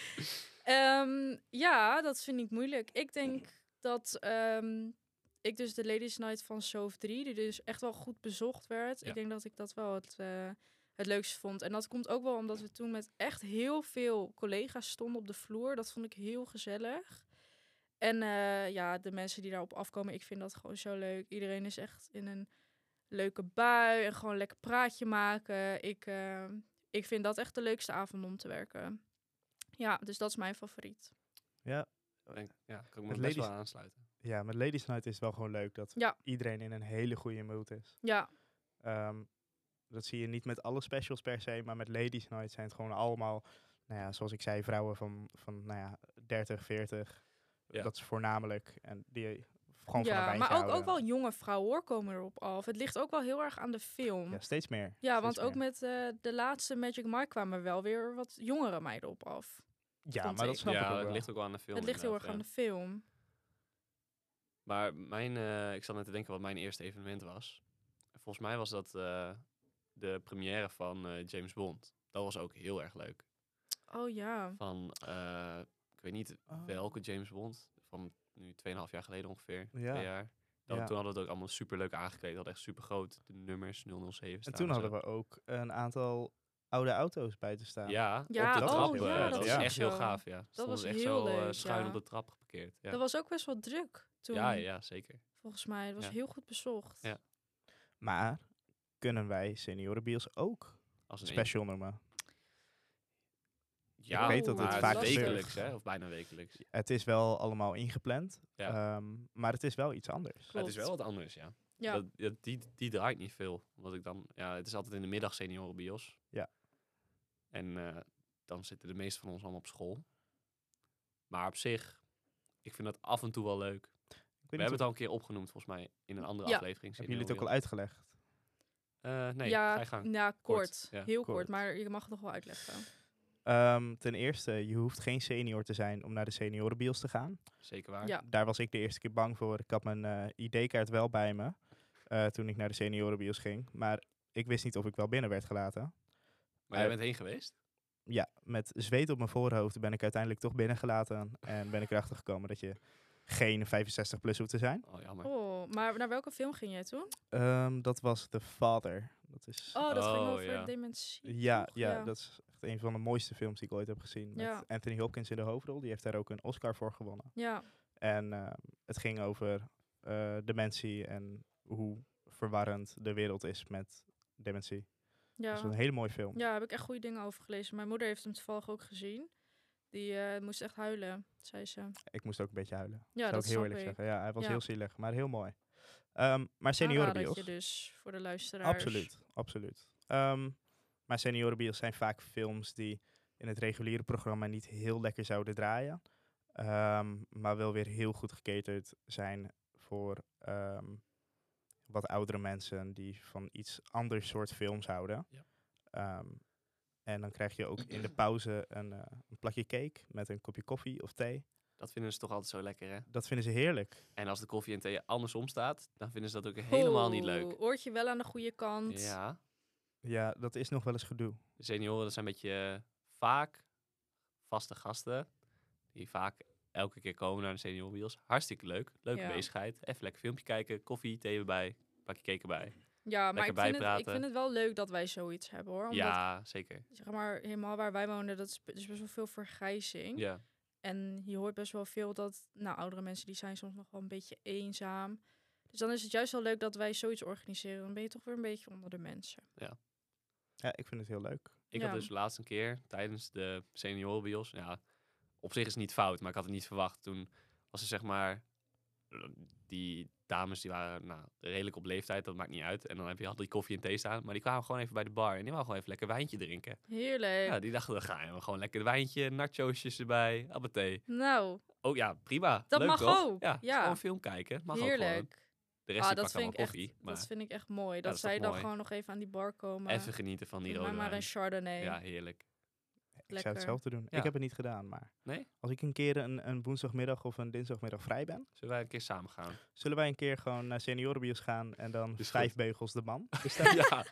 Speaker 2: Ehm, ja, dat vind ik moeilijk. Ik denk dat ehm, ik dus de Ladies Night van Soof 3, die dus echt wel goed bezocht werd.
Speaker 1: Ja.
Speaker 2: Ik denk dat ik dat wel het, eh, het leukste vond. En dat komt ook wel omdat we toen met echt heel veel collega's stonden op de vloer. Dat vond ik heel gezellig. En eh, ja, de mensen die daarop afkomen, ik vind dat gewoon zo leuk. Iedereen is echt in een leuke bui en gewoon een lekker praatje maken. Ik, eh, ik vind dat echt de leukste avond om te werken. Ja, dus dat is mijn favoriet.
Speaker 1: Ik Denk, ja, kan ik me best
Speaker 3: Met
Speaker 1: wel
Speaker 3: ladies-
Speaker 1: aan aansluiten.
Speaker 3: Ja, met Ladies Night is het wel gewoon leuk dat
Speaker 2: Ja.
Speaker 3: iedereen in een hele goede mood is.
Speaker 2: Ja,
Speaker 3: Ehm, dat zie je niet met alle specials per se, maar met Ladies Night zijn het gewoon allemaal, nou ja, zoals ik zei, vrouwen van, van nou ja, 30, 40.
Speaker 1: Ja.
Speaker 3: Dat is voornamelijk. En die gewoon van een
Speaker 2: ja
Speaker 3: wijntje
Speaker 2: maar ook, ook
Speaker 3: houden.
Speaker 2: wel jonge vrouwen hoor, komen erop af. Het ligt ook wel heel erg aan de film.
Speaker 3: Ja, steeds meer.
Speaker 2: Ja,
Speaker 3: steeds
Speaker 2: want ook
Speaker 3: meer.
Speaker 2: met eh, de laatste Magic Mike kwamen wel weer wat jongere meiden op af.
Speaker 3: Ja,
Speaker 2: vond
Speaker 3: maar dat
Speaker 2: ik.
Speaker 3: snap ik ook
Speaker 1: Ja, het
Speaker 3: wel.
Speaker 1: ligt ook wel aan de film.
Speaker 2: het ligt heel erg aan de
Speaker 1: inderdaad,
Speaker 2: film.
Speaker 1: ja. Maar mijn, eh, ik zat net te denken wat mijn eerste evenement was. Volgens mij was dat eh, de première van eh, James Bond. Dat was ook heel erg leuk.
Speaker 2: Oh ja.
Speaker 1: Van, eh, ik weet niet
Speaker 3: Oh.
Speaker 1: welke James Bond. Van nu 2,5 jaar geleden ongeveer.
Speaker 3: Ja.
Speaker 1: Twee jaar. Dan,
Speaker 3: Ja.
Speaker 1: Toen hadden we het ook allemaal super leuk aangekleed. We hadden echt super groot de nummers 007 staan.
Speaker 3: En toen hadden we ook een aantal oude auto's buiten staan.
Speaker 1: Ja,
Speaker 2: Ja,
Speaker 1: op de
Speaker 3: oh,
Speaker 1: trap.
Speaker 3: ja,
Speaker 1: eh,
Speaker 3: dat
Speaker 1: dat was
Speaker 3: is ook
Speaker 1: echt heel
Speaker 2: zo.
Speaker 1: gaaf, ja. Dat
Speaker 2: was
Speaker 1: echt
Speaker 2: heel
Speaker 1: zo eh,
Speaker 2: leuk,
Speaker 1: schuin
Speaker 2: ja.
Speaker 1: op de trap geparkeerd. Ja,
Speaker 2: Dat was ook best wel druk toen.
Speaker 1: ja, ja, zeker.
Speaker 2: Volgens mij. Het was
Speaker 1: Ja.
Speaker 2: heel goed bezocht.
Speaker 1: Ja.
Speaker 3: Maar kunnen wij seniorenbios ook
Speaker 1: Als een
Speaker 3: special noemen?
Speaker 1: Ja,
Speaker 2: Ik weet dat
Speaker 1: maar
Speaker 2: het
Speaker 1: is
Speaker 2: vaak gebeurt.
Speaker 1: wekelijks, hè, of bijna wekelijks.
Speaker 3: Het is wel allemaal ingepland,
Speaker 1: Ja.
Speaker 3: ehm, maar het is wel iets anders.
Speaker 1: Het is
Speaker 2: Klopt.
Speaker 1: wel wat anders, ja.
Speaker 2: Ja.
Speaker 1: Dat, ja, die, die draait niet veel. Omdat ik dan, ja, het is altijd in de middag seniorenbios.
Speaker 3: Ja.
Speaker 1: En eh, dan zitten de meeste van ons allemaal op school. Maar op zich, ik vind dat af en toe wel leuk.
Speaker 3: Ik
Speaker 1: We
Speaker 3: weet niet
Speaker 1: hebben
Speaker 3: of-
Speaker 1: het al een keer opgenoemd, volgens mij, in een andere
Speaker 2: Ja.
Speaker 1: aflevering.
Speaker 3: hebben jullie het ook al uitgelegd?
Speaker 1: al? nee,
Speaker 2: ja,
Speaker 1: ga je gang.
Speaker 2: ja, kort.
Speaker 1: ja.
Speaker 2: Heel kort.
Speaker 3: Kort.
Speaker 2: maar je mag het nog wel uitleggen.
Speaker 3: Ehm, ten eerste, je hoeft geen senior te zijn om naar de seniorenbios te gaan.
Speaker 1: Zeker waar.
Speaker 2: Ja.
Speaker 3: Daar was ik de eerste keer bang voor. Ik had mijn eh, ID-kaart wel bij me eh, toen ik naar de seniorenbios ging. Maar ik wist niet of ik wel binnen werd gelaten.
Speaker 1: Maar jij
Speaker 3: Eh,
Speaker 1: bent heen geweest?
Speaker 3: Ja, met zweet op mijn voorhoofd ben ik uiteindelijk toch binnengelaten. En ben ik erachter gekomen dat je geen 65 plus hoeft te zijn.
Speaker 1: Oh, jammer.
Speaker 2: Oh, maar naar welke film ging jij toen?
Speaker 3: Ehm, dat was The Father. Dat is...
Speaker 2: Oh, dat ging
Speaker 1: Oh,
Speaker 2: over
Speaker 1: ja.
Speaker 2: dementie.
Speaker 3: Ja,
Speaker 2: toch?
Speaker 3: ja,
Speaker 2: Ja.
Speaker 3: dat is echt een van de mooiste films die ik ooit heb gezien. Met
Speaker 2: Ja.
Speaker 3: Anthony Hopkins in de hoofdrol. Die heeft daar ook een Oscar voor gewonnen.
Speaker 2: Ja.
Speaker 3: En eh, het ging over eh, dementie en hoe verwarrend de wereld is met dementie.
Speaker 2: Ja.
Speaker 3: Dat is een hele mooie film.
Speaker 2: Ja, heb ik echt goede dingen over gelezen. Mijn moeder heeft hem toevallig ook gezien. Die eh, moest echt huilen, zei ze.
Speaker 3: Ik moest ook een beetje huilen.
Speaker 2: Ja,
Speaker 3: zou
Speaker 2: dat
Speaker 3: ik heel
Speaker 2: snap
Speaker 3: eerlijk
Speaker 2: ik.
Speaker 3: zeggen. Ja, hij was
Speaker 2: Ja.
Speaker 3: heel zielig, maar heel mooi. Ehm maar
Speaker 2: Aanradertje
Speaker 3: seniorenbios.
Speaker 2: dus voor de luisteraars.
Speaker 3: Absoluut, absoluut. Ehm, maar seniorenbios zijn vaak films die in het reguliere programma niet heel lekker zouden draaien. ehm, maar wel weer heel goed gecaterd zijn voor ehm, wat oudere mensen die van iets anders soort films houden.
Speaker 1: Ja.
Speaker 3: Ehm, en dan krijg je ook in de pauze een, eh, een plakje cake met een kopje koffie of thee.
Speaker 1: Dat vinden ze toch altijd zo lekker, hè?
Speaker 3: Dat vinden ze heerlijk.
Speaker 1: En als de koffie en thee andersom staat, dan vinden ze dat ook helemaal niet leuk.
Speaker 2: Oeh, Oortje wel aan de goede kant.
Speaker 1: Ja,
Speaker 3: Ja, dat is nog wel eens gedoe.
Speaker 1: de senioren dat zijn een beetje eh, vaak vaste gasten. Die vaak elke keer komen naar de Senior Wheels. Hartstikke leuk. Leuke
Speaker 2: Ja.
Speaker 1: bezigheid. Even lekker filmpje kijken. Koffie, thee erbij. Pak je cake erbij.
Speaker 2: Ja, maar ik
Speaker 1: Lekker
Speaker 2: vind, het, ik
Speaker 1: bijpraten.
Speaker 2: vind het wel leuk dat wij zoiets hebben hoor. Omdat,
Speaker 1: Ja, zeker.
Speaker 2: zeg maar, helemaal waar wij wonen, dat is, be- is best wel veel vergrijzing.
Speaker 1: Ja.
Speaker 2: En je hoort best wel veel dat, nou, oudere mensen die zijn soms nog wel een beetje eenzaam. Dus dan is het juist wel leuk dat wij zoiets organiseren. Dan ben je toch weer een beetje onder de mensen.
Speaker 3: Ja, ik vind het heel leuk.
Speaker 1: Ik
Speaker 2: Ja.
Speaker 1: had dus laatst een keer tijdens de seniorenbios, ja, op zich is het niet fout, maar ik had het niet verwacht. Toen was er zeg maar, eh, die dames die waren nou, redelijk op leeftijd, dat maakt niet uit. En dan heb je altijd die koffie en thee staan, maar die kwamen gewoon even bij de bar en die wouden gewoon even lekker wijntje drinken.
Speaker 2: Heerlijk.
Speaker 1: Ja, die dachten, dan gaan we gewoon lekker een wijntje, nachoosjes erbij, appetee.
Speaker 2: Nou,
Speaker 1: Oh ja, prima.
Speaker 2: Dat
Speaker 1: Leuk,
Speaker 2: mag
Speaker 1: toch?
Speaker 2: ook,
Speaker 1: Ja,
Speaker 2: ja.
Speaker 1: gewoon film kijken. Mag ook gewoon.
Speaker 2: heerlijk.
Speaker 1: De rest
Speaker 2: Ah,
Speaker 1: die
Speaker 2: dat,
Speaker 1: pakt
Speaker 2: vind
Speaker 1: allemaal
Speaker 2: ik echt,
Speaker 1: koffie,
Speaker 2: dat
Speaker 1: maar
Speaker 2: vind ik echt mooi.
Speaker 1: dat
Speaker 2: dat
Speaker 1: is toch
Speaker 2: zij dan
Speaker 1: mooi.
Speaker 2: gewoon nog even aan die bar komen.
Speaker 1: even genieten van die
Speaker 2: Doe mij
Speaker 1: rode
Speaker 2: maar
Speaker 1: wijn.
Speaker 2: een chardonnay.
Speaker 1: Ja, heerlijk.
Speaker 3: Ik zou
Speaker 2: Lekker.
Speaker 3: hetzelfde doen.
Speaker 1: Ja.
Speaker 3: Ik heb het niet gedaan, maar...
Speaker 1: Nee?
Speaker 3: Als ik een keer een, een woensdagmiddag of een dinsdagmiddag vrij ben...
Speaker 1: Zullen wij een keer samen gaan?
Speaker 3: Zullen wij een keer gewoon naar seniorenbios gaan en dan
Speaker 1: Is
Speaker 3: vijf
Speaker 1: goed.
Speaker 3: beugels de man?
Speaker 1: ja,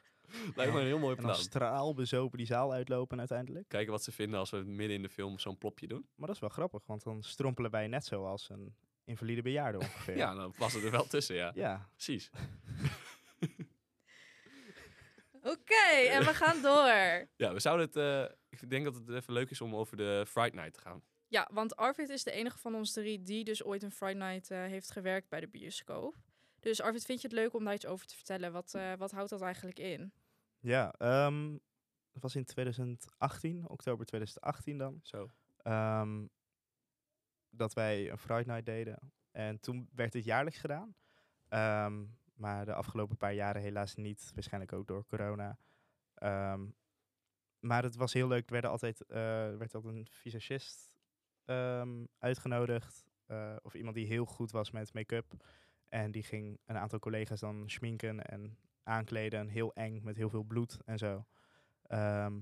Speaker 1: lijkt me een heel mooi
Speaker 3: En dan
Speaker 1: plan.
Speaker 3: straalbezopen die zaal uitlopen uiteindelijk.
Speaker 1: Kijken wat ze vinden als we midden in de film zo'n plopje doen.
Speaker 3: Maar dat is wel grappig, want dan strompelen wij net zoals een invalide bejaarde ongeveer.
Speaker 1: Ja, dan past het er wel tussen, ja.
Speaker 3: Ja.
Speaker 1: Precies.
Speaker 2: Oké, en we gaan door.
Speaker 1: Ja, we zouden het... eh, ik denk dat het even leuk is om over de Fright Night te gaan.
Speaker 2: Ja, want Arvid is de enige van ons drie die dus ooit een Friday Night eh, heeft gewerkt bij de bioscoop. Dus Arvid, vind je het leuk om daar iets over te vertellen? Wat, eh, wat houdt dat eigenlijk in?
Speaker 3: Ja, ehm, dat was in 2018, oktober 2018 dan.
Speaker 1: Zo.
Speaker 3: ehm, dat wij een Friday Night deden. En toen werd dit jaarlijks gedaan. Ehm, maar de afgelopen paar jaren helaas niet. Waarschijnlijk ook door corona. Ehm, maar het was heel leuk. Er werden altijd, eh, er werd altijd een visagist ehm, uitgenodigd. eh, of iemand die heel goed was met make-up. En die ging een aantal collega's dan schminken en aankleden. En heel eng met heel veel bloed en zo. Ehm,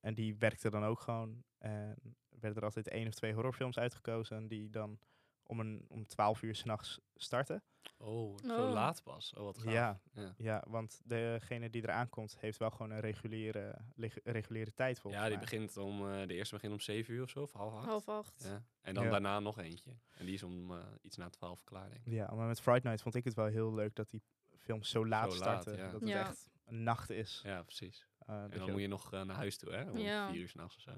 Speaker 3: en die werkte dan ook gewoon. En werden er altijd één of twee horrorfilms uitgekozen die dan om, een, om 12 uur s'nachts starten.
Speaker 1: Oh,
Speaker 2: zo Oh. laat
Speaker 1: pas. Oh, wat
Speaker 3: Ja,
Speaker 1: Ja.
Speaker 3: ja, want degene die eraan komt heeft wel gewoon een reguliere, leg- reguliere tijd volgens
Speaker 1: Ja, die
Speaker 3: mij.
Speaker 1: begint om... eh, de eerste begint om 7 uur of zo, of half acht.
Speaker 2: Half acht.
Speaker 1: Ja. En dan
Speaker 3: Ja.
Speaker 1: daarna nog eentje. En die is om eh, iets na 12 klaar, denk ik.
Speaker 3: Ja, maar met Fright Night vond ik het wel heel leuk dat die films zo laat
Speaker 1: Zo laat,
Speaker 3: starten.
Speaker 1: ja.
Speaker 3: Dat het
Speaker 2: Ja.
Speaker 3: echt een nacht is.
Speaker 1: Ja, precies.
Speaker 3: eh, dat
Speaker 1: En dan
Speaker 3: je-
Speaker 1: moet je nog eh, naar huis toe, hè? Om
Speaker 2: Ja.
Speaker 1: 4 uur s'nachts of zo.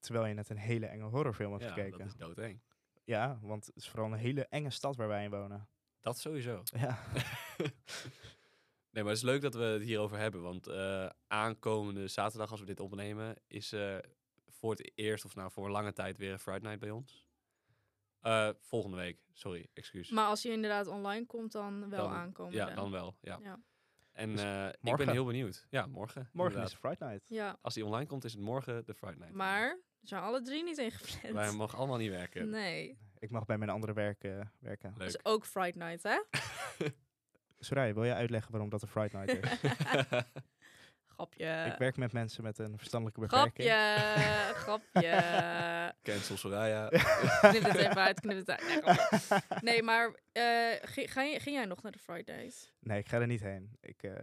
Speaker 3: Terwijl je net een hele enge horrorfilm hebt
Speaker 1: Ja, dat
Speaker 3: gekeken.
Speaker 1: is doodeng.
Speaker 3: Ja, want het is vooral een hele enge stad waar wij in wonen.
Speaker 1: Dat sowieso.
Speaker 3: Ja,
Speaker 1: Nee, maar het is leuk dat we het hierover hebben. Want eh, aankomende zaterdag, als we dit opnemen, is eh, voor het eerst of nou voor een lange tijd weer een Friday Night bij ons. Eh, volgende week, sorry, excuus.
Speaker 2: Maar als je inderdaad online komt, dan wel
Speaker 1: Dan-
Speaker 2: aankomen.
Speaker 1: ja, dan wel. Ja.
Speaker 2: Ja.
Speaker 1: En
Speaker 3: Dus
Speaker 1: eh, ik ben
Speaker 3: morgen?
Speaker 1: heel benieuwd. Ja, morgen.
Speaker 3: morgen
Speaker 1: inderdaad.
Speaker 3: is Fright Night.
Speaker 2: Ja,
Speaker 1: Als die online komt, is het morgen de Friday Night.
Speaker 2: maar er zijn alle drie niet
Speaker 1: Wij
Speaker 2: ingepland.
Speaker 1: mogen allemaal niet werken.
Speaker 2: Nee.
Speaker 3: Ik mag bij mijn andere werk eh, werken.
Speaker 1: Leuk.
Speaker 2: Dat is ook Friday Night, hè?
Speaker 3: Soraya, wil jij uitleggen waarom dat een Fright Night is?
Speaker 2: Grapje.
Speaker 3: Ik werk met mensen met een verstandelijke beperking.
Speaker 2: Grapje. Grapje.
Speaker 1: Cancel Soraya.
Speaker 2: knip het even uit, knip het uit. Nee, grapje. Nee, maar eh, gi- ga je- ging jij nog naar de Fridays?
Speaker 3: Nee, ik ga er niet heen. Ik, eh,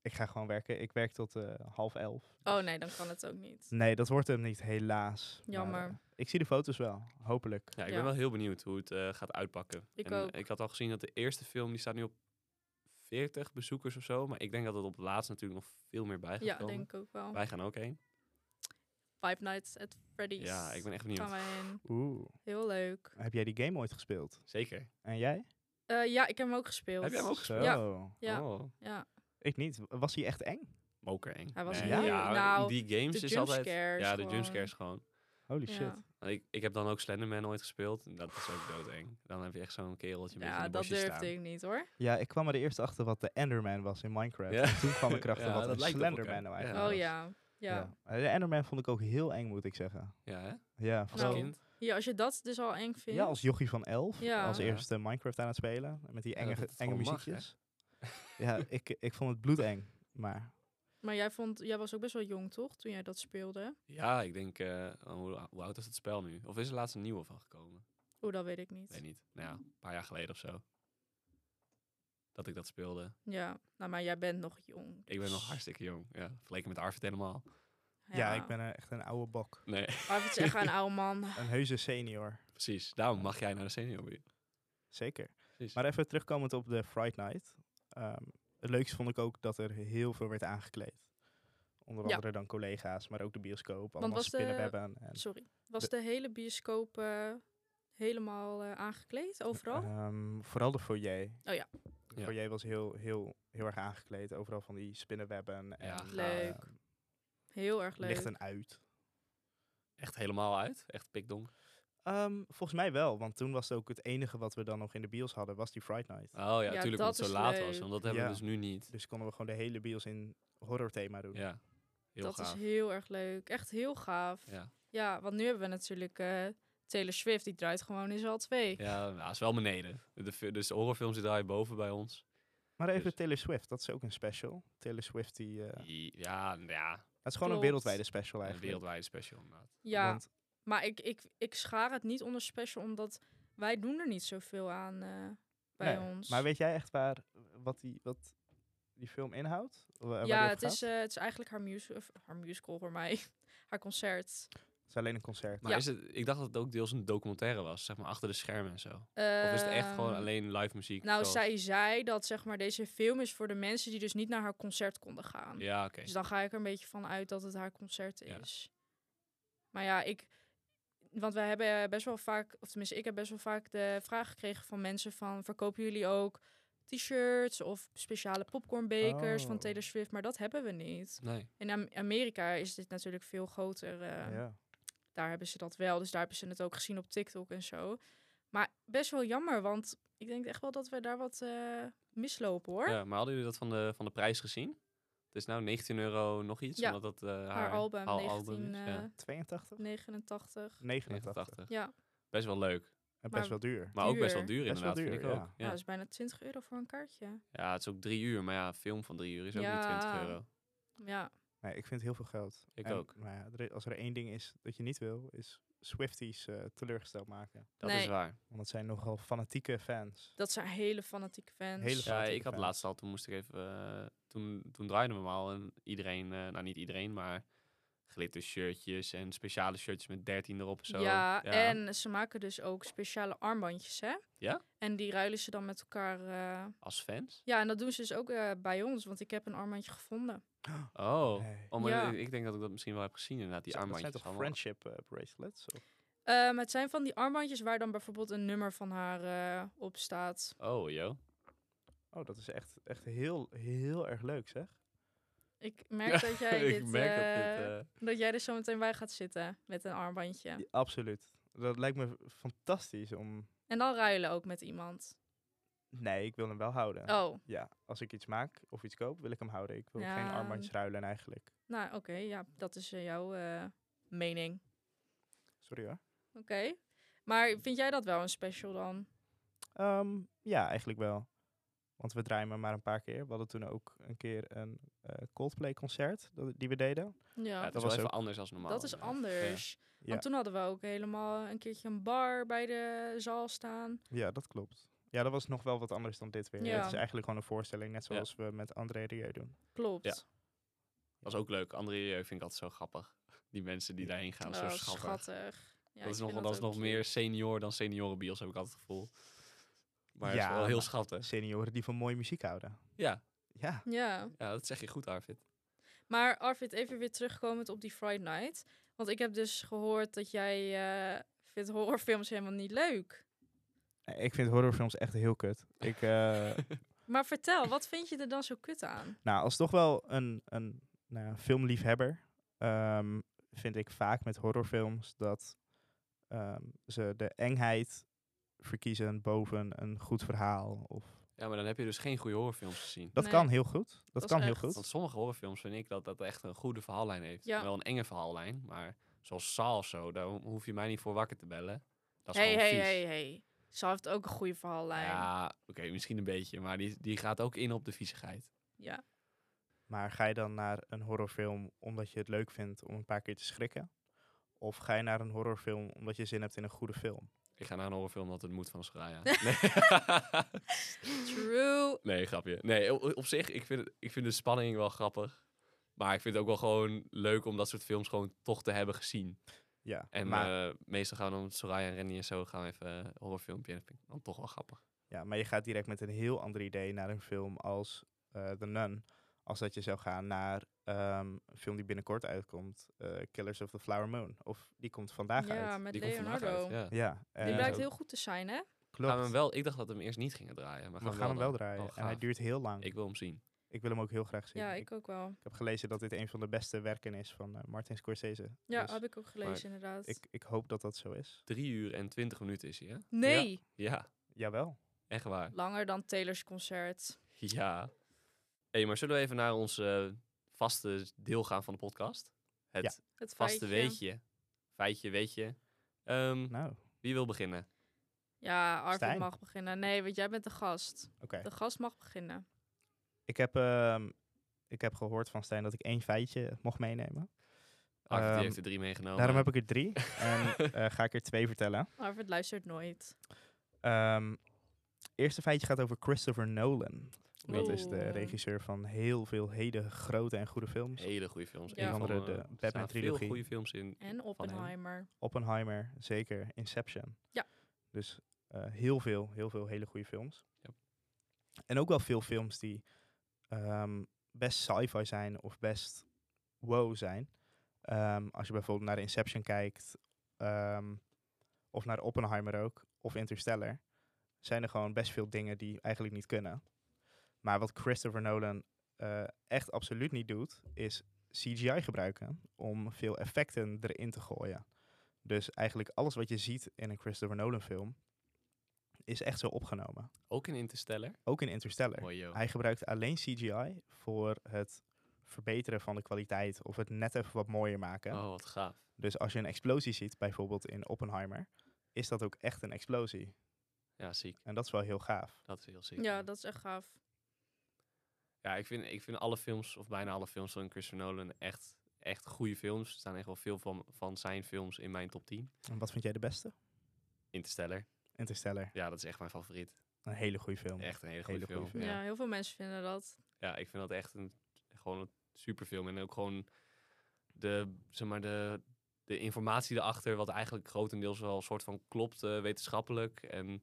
Speaker 3: ik ga gewoon werken. Ik werk tot eh, half elf.
Speaker 2: Oh nee, dan kan het ook niet.
Speaker 3: Nee, dat wordt hem niet, helaas. Maar,
Speaker 2: Jammer.
Speaker 3: eh, ik zie de foto's wel, hopelijk.
Speaker 1: Ja, ik
Speaker 2: Ja.
Speaker 1: ben wel heel benieuwd hoe het eh, gaat uitpakken.
Speaker 2: Ik
Speaker 1: en,
Speaker 2: ook.
Speaker 1: Ik had al gezien dat de eerste film, die staat nu op 40 bezoekers of zo. Maar ik denk dat het op het laatst natuurlijk nog veel meer bij gaat
Speaker 2: Ja,
Speaker 1: komen.
Speaker 2: denk ik ook wel.
Speaker 1: Wij gaan ook heen.
Speaker 2: Five Nights at Freddy's.
Speaker 1: Ja, ik ben echt
Speaker 2: Gaan
Speaker 1: benieuwd.
Speaker 2: wij heen.
Speaker 3: Oeh,
Speaker 2: Heel leuk.
Speaker 3: heb jij die game ooit gespeeld?
Speaker 1: Zeker.
Speaker 3: En jij?
Speaker 2: Eh, ja, ik heb hem ook gespeeld.
Speaker 1: Heb jij hem ook gespeeld?
Speaker 2: Ja. Ja,
Speaker 1: Oh,
Speaker 2: ja.
Speaker 3: Ik niet. Was die echt eng?
Speaker 1: mokereng.
Speaker 2: Hij was
Speaker 1: Nee,
Speaker 3: heel-
Speaker 1: ja,
Speaker 2: nou,
Speaker 1: die games
Speaker 2: de
Speaker 1: is altijd...
Speaker 2: jumpscares
Speaker 1: Ja, de
Speaker 2: gewoon.
Speaker 1: jumpscares gewoon.
Speaker 3: Holy
Speaker 2: Ja.
Speaker 3: shit.
Speaker 1: Want Ik, ik heb dan ook Slenderman ooit gespeeld. en Dat is ook doodeng. Dan heb je echt zo'n kereltje met
Speaker 2: Ja,
Speaker 1: in de
Speaker 2: dat
Speaker 1: bosjes
Speaker 2: durfde
Speaker 1: staan.
Speaker 2: ik niet hoor.
Speaker 3: Ja, ik kwam er eerst achter wat de Enderman was in Minecraft.
Speaker 1: Ja.
Speaker 3: En toen kwam ik erachter
Speaker 1: Ja,
Speaker 3: wat
Speaker 1: dat
Speaker 3: een
Speaker 1: lijkt op elkaar.
Speaker 3: Slenderman nou
Speaker 1: Ja.
Speaker 3: eigenlijk
Speaker 2: oh
Speaker 3: was.
Speaker 2: ja. Ja.
Speaker 3: Ja. De Enderman vond ik ook heel eng, moet ik zeggen.
Speaker 1: Ja, hè? Als
Speaker 3: Ja,
Speaker 2: Nou,
Speaker 3: vooral...
Speaker 1: kind.
Speaker 2: Ja, als je dat dus al eng vindt.
Speaker 3: Ja, als jochie van elf.
Speaker 2: Ja.
Speaker 3: Als
Speaker 1: Ja.
Speaker 3: eerste Minecraft aan het spelen. Met die
Speaker 1: Ja,
Speaker 3: enge,
Speaker 1: dat het
Speaker 3: enge
Speaker 1: gewoon mag, hè?
Speaker 3: muziekjes. ja, ik, ik vond het bloedeng. Maar
Speaker 2: Maar jij, vond, jij was ook best wel jong, toch? Toen jij dat speelde.
Speaker 1: Ja, ik denk... eh, hoe, hoe oud is het spel nu? Of is er laatst een nieuwe van gekomen?
Speaker 2: Oeh, dat weet ik niet.
Speaker 1: Weet niet. Nou ja, een paar jaar geleden of zo. Dat ik dat speelde.
Speaker 2: Ja, nou, maar jij bent nog jong.
Speaker 1: Ik ben nog
Speaker 2: dus-
Speaker 1: hartstikke jong. Ja, vergeleken met Arvid helemaal.
Speaker 3: ja, ik ben eh, echt een oude bok.
Speaker 1: Nee.
Speaker 2: Maar even zeggen, een oude man.
Speaker 3: Een heuse senior.
Speaker 1: Precies, daarom mag jij naar de senior.
Speaker 3: Zeker.
Speaker 1: Precies.
Speaker 3: Maar even terugkomend op de Fright Night. Ehm, het leukste vond ik ook dat er heel veel werd aangekleed. Onder
Speaker 2: Ja.
Speaker 3: andere dan collega's, maar ook de bioscoop. Allemaal
Speaker 2: was de-
Speaker 3: spinnenwebben. En,
Speaker 2: Sorry. Was de hele bioscoop eh, helemaal eh, aangekleed, overal?
Speaker 3: Ehm, vooral de foyer.
Speaker 2: Oh ja.
Speaker 3: De
Speaker 1: Ja.
Speaker 3: foyer was heel, heel, heel erg aangekleed. Overal van die spinnenwebben. En, ehm,
Speaker 2: Leuk. Heel erg leuk.
Speaker 3: Licht en uit.
Speaker 1: Echt helemaal uit, echt pikdonker.
Speaker 3: Ehm, volgens mij wel, want toen was het ook het enige wat we dan nog in de bios hadden, was die Fright Night.
Speaker 1: Oh ja,
Speaker 2: Ja,
Speaker 1: natuurlijk
Speaker 2: dat
Speaker 1: omdat het zo
Speaker 2: is
Speaker 1: laat
Speaker 2: leuk.
Speaker 1: was. Want dat hebben
Speaker 3: Ja.
Speaker 1: we dus nu niet.
Speaker 3: Dus konden we gewoon de hele bios in horror thema doen.
Speaker 1: Ja, heel
Speaker 2: dat
Speaker 1: gaaf.
Speaker 2: is heel erg leuk. Echt heel gaaf. Ja,
Speaker 1: Ja,
Speaker 2: want nu hebben we natuurlijk eh, Taylor Swift, die draait gewoon in zaal 2.
Speaker 1: ja nou, is wel beneden. De, fi- dus de horrorfilms die draaien boven bij ons.
Speaker 3: Maar even
Speaker 1: Dus-
Speaker 3: Taylor Swift, dat is ook een special. Taylor Swift, die, eh,
Speaker 1: Die- Ja, nou ja,
Speaker 3: het is gewoon
Speaker 2: Klopt.
Speaker 3: een wereldwijde special
Speaker 1: een
Speaker 3: eigenlijk.
Speaker 1: wereldwijde special inderdaad.
Speaker 2: Ja,
Speaker 3: Want
Speaker 2: maar ik, ik, ik schaar het niet onder special, omdat wij doen er niet zoveel aan eh bij
Speaker 3: Nee,
Speaker 2: ons.
Speaker 3: Maar weet jij echt waar wat die, wat die film inhoudt? Wa- waar die
Speaker 2: ja,
Speaker 3: over
Speaker 2: het is,
Speaker 3: gaat?
Speaker 2: eh, het is eigenlijk haar, musi- of haar musical voor mij. haar concert.
Speaker 3: Het is alleen een concert.
Speaker 1: Maar
Speaker 2: Ja.
Speaker 1: is het, ik dacht dat het ook deels een documentaire was, zeg maar achter de schermen en zo. Of is het echt gewoon
Speaker 2: Ehm,
Speaker 1: alleen live muziek?
Speaker 2: Nou,
Speaker 1: zoals-
Speaker 2: zij zei dat zeg maar, deze film is voor de mensen die dus niet naar haar concert konden gaan.
Speaker 1: Ja, oké.
Speaker 2: Dus dan ga ik er een beetje van uit dat het haar concert
Speaker 1: Ja.
Speaker 2: is. Maar ja, ik. Want wij hebben eh, best wel vaak, of tenminste, ik heb best wel vaak de vraag gekregen van mensen van verkopen jullie ook t-shirts of speciale popcornbekers van
Speaker 3: Oh.
Speaker 2: Taylor Swift, maar dat hebben we niet.
Speaker 1: Nee.
Speaker 2: In Am- Amerika is dit natuurlijk veel groter. eh,
Speaker 3: ja.
Speaker 2: Daar hebben ze dat wel, dus daar hebben ze het ook gezien op TikTok en zo. Maar best wel jammer, want ik denk echt wel dat we daar wat eh, mislopen hoor.
Speaker 1: Ja, maar hadden jullie dat van de, van de prijs gezien? Het is nou 19 euro nog iets,
Speaker 2: Ja,
Speaker 1: omdat dat eh, haar,
Speaker 2: Haar album,
Speaker 1: haar
Speaker 2: 1989.
Speaker 3: 82?
Speaker 2: 89.
Speaker 3: 89.
Speaker 1: 89.
Speaker 2: Ja.
Speaker 1: Best wel leuk,
Speaker 3: En
Speaker 2: Maar-
Speaker 3: best wel duur.
Speaker 1: maar ook best wel
Speaker 2: Duur.
Speaker 1: duur
Speaker 3: Best wel
Speaker 1: inderdaad, vind
Speaker 3: duur,
Speaker 1: ik
Speaker 3: ja.
Speaker 1: ook.
Speaker 2: Ja,
Speaker 1: Ja.
Speaker 2: Nou, dat is bijna 20 euro voor een kaartje.
Speaker 1: Ja, het is ook drie uur, maar ja, een film van drie uur is ook niet 20
Speaker 2: Ja.
Speaker 1: euro.
Speaker 2: Ja,
Speaker 3: Nee, ik vind het heel veel geld.
Speaker 1: Ik
Speaker 3: En,
Speaker 1: ook.
Speaker 3: Maar ja, er i- als er één ding is dat je niet wil, is Swifties eh, teleurgesteld maken.
Speaker 1: Dat is
Speaker 2: Nee.
Speaker 1: waar.
Speaker 3: Want het zijn nogal fanatieke fans.
Speaker 2: dat zijn hele fanatieke fans.
Speaker 3: Hele
Speaker 1: Ja,
Speaker 3: fanatieke
Speaker 1: ik had
Speaker 3: fans.
Speaker 1: laatst al, toen moest ik even, eh, toen, toen draaiden we hem al en iedereen, eh, nou niet iedereen, maar glittershirtjes en speciale shirtjes met 13 erop en zo.
Speaker 2: Ja, en ze maken dus ook speciale armbandjes, hè?
Speaker 1: Ja?
Speaker 2: En die ruilen ze dan met elkaar. eh,
Speaker 1: Als fans?
Speaker 2: Ja, en dat doen ze dus ook eh, bij ons, want ik heb een armbandje gevonden.
Speaker 1: Oh,
Speaker 3: Nee.
Speaker 1: oh maar
Speaker 2: Ja.
Speaker 1: ik- ik denk dat ik dat misschien wel heb gezien inderdaad, die
Speaker 3: Zijn- dat zijn
Speaker 1: armbandjes.
Speaker 3: toch
Speaker 1: allemaal.
Speaker 3: friendship eh, bracelets? Of-
Speaker 2: Ehm, het zijn van die armbandjes waar dan bijvoorbeeld een nummer van haar eh, op staat.
Speaker 1: Oh, joh.
Speaker 3: Oh, dat is echt, echt heel, heel erg leuk, zeg.
Speaker 2: Ik merk dat jij dit,
Speaker 1: ik merk dat
Speaker 2: eh,
Speaker 1: dit... eh,
Speaker 2: dat jij er zo meteen bij gaat zitten met een armbandje.
Speaker 3: Ja, absoluut. Dat lijkt me fantastisch om...
Speaker 2: En dan ruilen ook met iemand.
Speaker 3: Nee, ik wil hem wel houden.
Speaker 2: Oh,
Speaker 3: Ja, als ik iets maak of iets koop, wil ik hem houden. Ik wil
Speaker 2: Ja.
Speaker 3: geen armbandjes ruilen eigenlijk.
Speaker 2: nou oké, ja, dat is eh, jouw eh, mening.
Speaker 3: Sorry hoor.
Speaker 2: Oké. Maar vind jij dat wel een special dan?
Speaker 3: Ehm, ja, eigenlijk wel. Want we draaien hem maar een paar keer. We hadden toen ook een keer een eh, Coldplay-concert dat- die we deden.
Speaker 2: Ja,
Speaker 1: Ja, dat was
Speaker 3: dat was
Speaker 1: even
Speaker 3: ook-
Speaker 1: anders dan normaal.
Speaker 2: dat is
Speaker 1: inderdaad.
Speaker 2: anders.
Speaker 3: Ja.
Speaker 2: Want toen hadden we ook helemaal een keertje een bar bij de zaal staan.
Speaker 3: Ja, dat klopt. Ja, dat was nog wel wat anders dan dit weer.
Speaker 2: Ja.
Speaker 3: Het is eigenlijk gewoon een voorstelling, net
Speaker 1: Ja.
Speaker 3: zoals we met André Rieu doen.
Speaker 2: Klopt.
Speaker 1: Ja. Dat is ook leuk. André Rieu vind ik altijd zo grappig. Die mensen die daarheen gaan, zo
Speaker 2: Oh,
Speaker 1: schattig.
Speaker 2: Ja,
Speaker 1: dat
Speaker 2: ik
Speaker 1: is
Speaker 2: vind
Speaker 1: nog, dat is
Speaker 2: ook
Speaker 1: nog
Speaker 2: cute.
Speaker 1: meer senior dan seniorenbios, heb ik altijd het gevoel. Maar het
Speaker 3: Ja,
Speaker 1: is wel heel
Speaker 3: maar-
Speaker 1: schattig.
Speaker 3: Senioren die van mooie muziek houden.
Speaker 1: Ja,
Speaker 3: Ja.
Speaker 2: Ja.
Speaker 1: ja, dat zeg je goed, Arvid.
Speaker 2: Maar Arvid, even weer terugkomend op die Friday Night. Want ik heb dus gehoord dat jij eh, vindt horrorfilms helemaal niet leuk.
Speaker 3: Nee, Ik vind horrorfilms echt heel kut. Ik, eh,
Speaker 2: Maar vertel, wat vind je er dan zo kut aan?
Speaker 3: Nou, als toch wel een, een nou ja, filmliefhebber, ehm, vind ik vaak met horrorfilms dat ehm, ze de engheid verkiezen boven een goed verhaal. Of,
Speaker 1: Ja, maar dan heb je dus geen goede horrorfilms gezien.
Speaker 3: dat
Speaker 2: Nee.
Speaker 3: kan heel goed. Dat,
Speaker 2: Dat is
Speaker 3: kan heel
Speaker 2: echt-
Speaker 3: goed.
Speaker 1: Want sommige horrorfilms vind ik dat dat echt een goede verhaallijn heeft.
Speaker 2: Ja.
Speaker 1: Wel een enge verhaallijn, maar zoals Saal of zo, daar ho- hoef je mij niet voor wakker te bellen. Dat is
Speaker 2: Hey,
Speaker 1: gewoon
Speaker 2: hey,
Speaker 1: vies.
Speaker 2: hey, hey. Ze heeft ook een goede verhaallijn. Ja.
Speaker 1: Ja, oké, misschien een beetje, maar die, die gaat ook in op de viezigheid.
Speaker 3: Maar ga je dan naar een horrorfilm omdat je het leuk vindt om een paar keer te schrikken? Of ga je naar een horrorfilm omdat je zin hebt in een goede film?
Speaker 1: Ik ga naar een horrorfilm dat het moet van Soraya. Nee.
Speaker 2: True.
Speaker 1: Nee, grapje. Nee, o- op zich, ik vind, het- ik vind de spanning wel grappig. Maar ik vind het ook wel gewoon leuk om dat soort films gewoon toch te hebben gezien.
Speaker 3: Ja,
Speaker 1: En
Speaker 3: maar,
Speaker 1: eh, meestal gaan we dan met Soraya en Rennie en zo gaan we even een horrorfilmpje. En dat vind ik dan toch wel grappig.
Speaker 3: ja, maar je gaat direct met een heel ander idee naar een film als eh The Nun. Als dat je zou gaan naar ehm, een film die binnenkort uitkomt, eh, Killers of the Flower Moon. Of die komt vandaag
Speaker 2: Ja,
Speaker 3: uit.
Speaker 2: met
Speaker 1: Die komt vandaag
Speaker 2: Leonardo.
Speaker 1: uit, ja.
Speaker 3: Ja,
Speaker 2: Die
Speaker 3: eh,
Speaker 2: blijkt
Speaker 1: ook.
Speaker 2: heel goed te zijn, hè?
Speaker 3: klopt.
Speaker 1: Gaan we hem wel, ik dacht dat we hem eerst niet gingen draaien. Maar
Speaker 3: We gaan hem wel
Speaker 1: dan.
Speaker 3: draaien.
Speaker 1: Oh,
Speaker 3: en hij
Speaker 1: gaaf.
Speaker 3: duurt heel lang. Ik,
Speaker 1: Ik wil hem zien.
Speaker 3: wil hem ook heel graag zien.
Speaker 2: Ja,
Speaker 3: ik,
Speaker 2: ik ook wel.
Speaker 3: ik heb gelezen dat dit een van de beste werken is van eh, Martin Scorsese.
Speaker 2: Ja, oh,
Speaker 3: Dus
Speaker 2: heb ik ook gelezen, inderdaad.
Speaker 3: ik, ik hoop dat dat zo is.
Speaker 1: Drie uur en twintig minuten is hij, hè?
Speaker 2: nee,
Speaker 1: Ja,
Speaker 3: Jawel.
Speaker 1: echt waar.
Speaker 2: langer dan Taylor's concert.
Speaker 1: Ja. Hé, maar zullen we even naar ons eh, vaste deel gaan van de podcast? Het
Speaker 3: Ja.
Speaker 2: Het
Speaker 1: vaste
Speaker 2: feitje.
Speaker 1: weetje. Feitje, weetje. Ehm,
Speaker 3: Nou, oké.
Speaker 1: wie wil beginnen?
Speaker 2: Ja, Arvid
Speaker 3: Stijn.
Speaker 2: mag beginnen. Nee, want jij bent de gast. De gast mag beginnen.
Speaker 3: Ik, heb, ehm, ik heb gehoord van Stijn dat ik één feitje mocht meenemen.
Speaker 1: Arvid die
Speaker 3: Ehm,
Speaker 1: heeft er drie meegenomen.
Speaker 3: Daarom heb ik er drie. en eh, ga ik er twee vertellen.
Speaker 2: Arvid luistert nooit.
Speaker 3: Ehm eerste feitje gaat over Christopher Nolan. Dat is de
Speaker 2: Oeh.
Speaker 3: regisseur van heel veel hele grote en goede films.
Speaker 1: Hele goede films.
Speaker 2: Ja.
Speaker 1: Een van
Speaker 3: Onder de
Speaker 1: eh,
Speaker 3: Batman
Speaker 1: er staan
Speaker 3: trilogie.
Speaker 1: veel goede films in.
Speaker 2: En Oppenheimer.
Speaker 3: Oppenheimer, zeker. Inception.
Speaker 2: Ja.
Speaker 3: Dus eh, heel veel, heel veel hele goede films.
Speaker 1: Ja.
Speaker 3: En ook wel veel films die ehm, best sci-fi zijn of best wow zijn. Ehm, als je bijvoorbeeld naar Inception kijkt, ehm, of naar Oppenheimer ook, of Interstellar, zijn er gewoon best veel dingen die eigenlijk niet kunnen. Maar wat Christopher Nolan eh, echt absoluut niet doet, is CGI gebruiken om veel effecten erin te gooien. Dus eigenlijk alles wat je ziet in een Christopher Nolan film is echt zo opgenomen.
Speaker 1: Ook in Interstellar.
Speaker 3: Ook in Interstellar.
Speaker 1: Mooi joh.
Speaker 3: Hij gebruikt alleen CGI voor het verbeteren van de kwaliteit of het net even wat mooier maken.
Speaker 1: Oh, wat gaaf.
Speaker 3: Dus als je een explosie ziet, bijvoorbeeld in Oppenheimer, is dat ook echt een explosie.
Speaker 1: Ja, ziek.
Speaker 3: En dat is wel heel gaaf.
Speaker 1: Dat is heel ziek.
Speaker 2: Ja, dat is echt gaaf.
Speaker 1: Ja, ik vind, ik vind alle films, of bijna alle films van Christopher Nolan echt, echt goede films. Er staan echt wel veel van, van zijn films in mijn top 10.
Speaker 3: En wat vind jij de beste?
Speaker 1: Interstellar.
Speaker 3: Interstellar.
Speaker 1: Ja, dat is echt mijn favoriet.
Speaker 3: Een hele goede film.
Speaker 1: Echt een hele
Speaker 3: Hele
Speaker 1: goede
Speaker 3: goede
Speaker 1: film.
Speaker 3: film.
Speaker 2: Ja.
Speaker 1: Ja.
Speaker 2: heel veel mensen vinden dat.
Speaker 1: ja, ik vind dat echt een, gewoon een superfilm. En ook gewoon de, zeg maar, de, de informatie erachter, wat eigenlijk grotendeels wel een soort van klopt, eh, wetenschappelijk en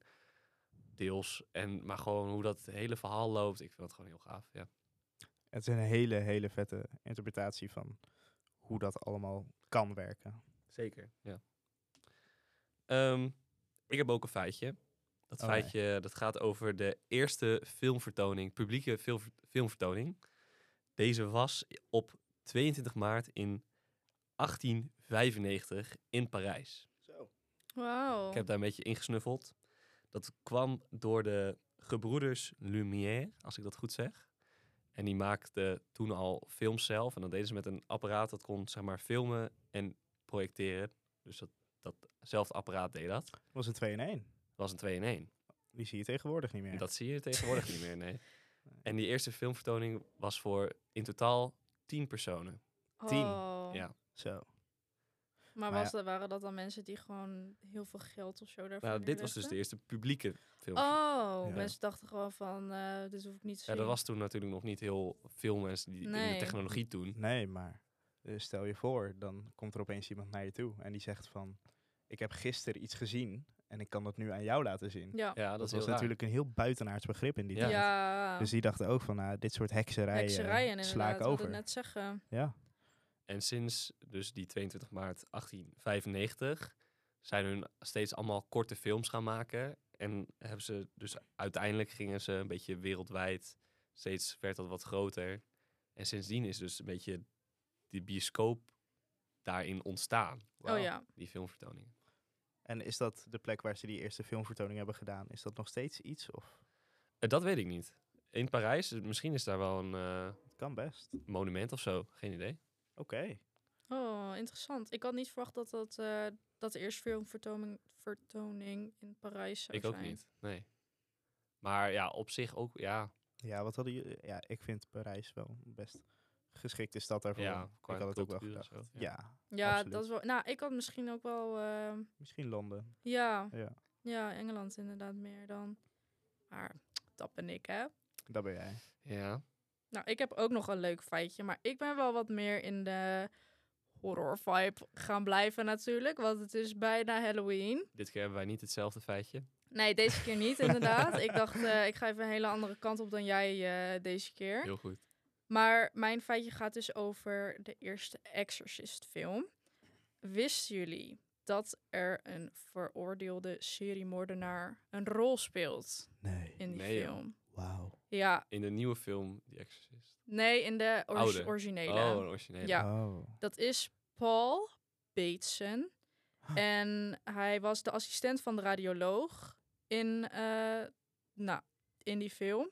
Speaker 1: deels. En, maar gewoon hoe dat hele verhaal loopt, ik vind dat gewoon heel gaaf. Ja.
Speaker 3: Het is een hele, hele vette interpretatie van hoe dat allemaal kan werken.
Speaker 1: Zeker. Ja. Ehm, ik heb ook een feitje. Dat
Speaker 3: Oh, nee.
Speaker 1: feitje dat gaat over de eerste filmvertoning, publieke fil- filmvertoning. Deze was op 22 maart in 1895 in Parijs.
Speaker 3: Zo.
Speaker 2: Wauw.
Speaker 1: Ik heb daar een beetje ingesnuffeld. Dat kwam door de gebroeders Lumière, als ik dat goed zeg. En die maakten toen al films zelf. En dat deden ze met een apparaat dat kon zeg maar, filmen en projecteren. Dus dat, datzelfde apparaat deed dat.
Speaker 3: Dat was een 2 in 1.
Speaker 1: Dat was een 2 in 1.
Speaker 3: Die zie je tegenwoordig niet meer.
Speaker 1: Dat zie je tegenwoordig niet meer, nee. En die eerste filmvertoning was voor in totaal 10 personen.
Speaker 3: tien.
Speaker 2: Oh.
Speaker 1: Ja.
Speaker 3: Zo.
Speaker 2: Maar,
Speaker 3: Maar
Speaker 2: was dat, waren dat dan mensen die gewoon heel veel geld of zo daarvoor
Speaker 1: Nou, dit was dus de
Speaker 2: neerlegden?
Speaker 1: eerste publieke film.
Speaker 2: Oh,
Speaker 3: Ja.
Speaker 2: mensen dachten gewoon van, eh dit hoef ik niet te
Speaker 1: Ja,
Speaker 2: zien.
Speaker 1: er was toen natuurlijk nog niet heel veel mensen die in de
Speaker 2: Nee.
Speaker 1: technologie toen.
Speaker 3: Nee, maar eh, stel je voor, dan komt er opeens iemand naar je toe en die zegt van, ik heb gisteren iets gezien en ik kan dat nu aan jou laten zien.
Speaker 2: Ja.
Speaker 1: Ja, dat,
Speaker 3: dat
Speaker 1: is heel
Speaker 3: was
Speaker 1: raar.
Speaker 3: natuurlijk een heel buitenaards begrip in die
Speaker 1: Ja.
Speaker 3: tijd.
Speaker 2: Ja.
Speaker 3: Dus die dachten ook van, nou, dit soort hekserijen,
Speaker 2: Hekserijen
Speaker 3: sla
Speaker 2: inderdaad,
Speaker 3: ik
Speaker 2: ik wilde
Speaker 3: over.
Speaker 2: het net zeggen. Oh
Speaker 3: Ja,
Speaker 1: En sinds dus die 22 maart 1895 zijn hun steeds allemaal korte films gaan maken. En hebben ze dus uiteindelijk gingen ze een beetje wereldwijd, steeds werd dat wat groter. En sindsdien is dus een beetje die bioscoop daarin ontstaan.
Speaker 2: Oh ja.
Speaker 1: Die filmvertoningen.
Speaker 3: en is dat de plek waar ze die eerste filmvertoning hebben gedaan? Is dat nog steeds iets? Of
Speaker 1: Eh, Dat weet ik niet. In Parijs, eh, misschien is daar wel een eh,
Speaker 3: het kan best. Oké.
Speaker 1: monument of zo. Geen idee.
Speaker 2: Oh, interessant. Ik had niet verwacht dat dat, eh, dat de eerste filmvertoning vertoning in Parijs zou
Speaker 1: ik
Speaker 2: zijn.
Speaker 1: ook niet. Nee. Maar ja, op zich ook, ja,
Speaker 3: Ja, wat hadden jullie? Ja, ik vind Parijs wel best geschikte stad daarvoor.
Speaker 1: Ja,
Speaker 3: ik
Speaker 1: qua
Speaker 3: had het ook wel
Speaker 1: cultuur en
Speaker 3: gedacht.
Speaker 1: zo,
Speaker 3: ja.
Speaker 1: ja.
Speaker 2: Ja,
Speaker 3: Absoluut.
Speaker 2: dat is wel... Nou, ik had misschien ook wel... eh,
Speaker 3: misschien Londen.
Speaker 2: ja,
Speaker 3: Ja,
Speaker 2: ja, Engeland inderdaad meer dan. Maar dat ben ik, hè.
Speaker 3: daar ben jij.
Speaker 1: ja.
Speaker 2: Nou, ik heb ook nog een leuk feitje, maar ik ben wel wat meer in de horror vibe gaan blijven natuurlijk. Want het is bijna Halloween.
Speaker 1: Dit keer hebben wij niet hetzelfde feitje.
Speaker 2: Nee, deze keer niet inderdaad. ik dacht, eh, ik ga even een hele andere kant op dan jij eh, deze keer.
Speaker 1: Heel goed.
Speaker 2: Maar mijn feitje gaat dus over de eerste Exorcist film. Wisten jullie dat er een veroordeelde seriemoordenaar een rol speelt
Speaker 3: Nee.
Speaker 2: in die
Speaker 1: Nee, joh.
Speaker 2: film?
Speaker 3: Wauw.
Speaker 2: Ja,
Speaker 1: In de nieuwe film, The Exorcist.
Speaker 2: nee, in de ori-
Speaker 1: Oude.
Speaker 2: originele.
Speaker 1: Oh, een originele.
Speaker 2: Ja.
Speaker 3: Oh.
Speaker 2: Dat is Paul Bateson. En hij was de assistent van de radioloog in, eh, nou, in die film.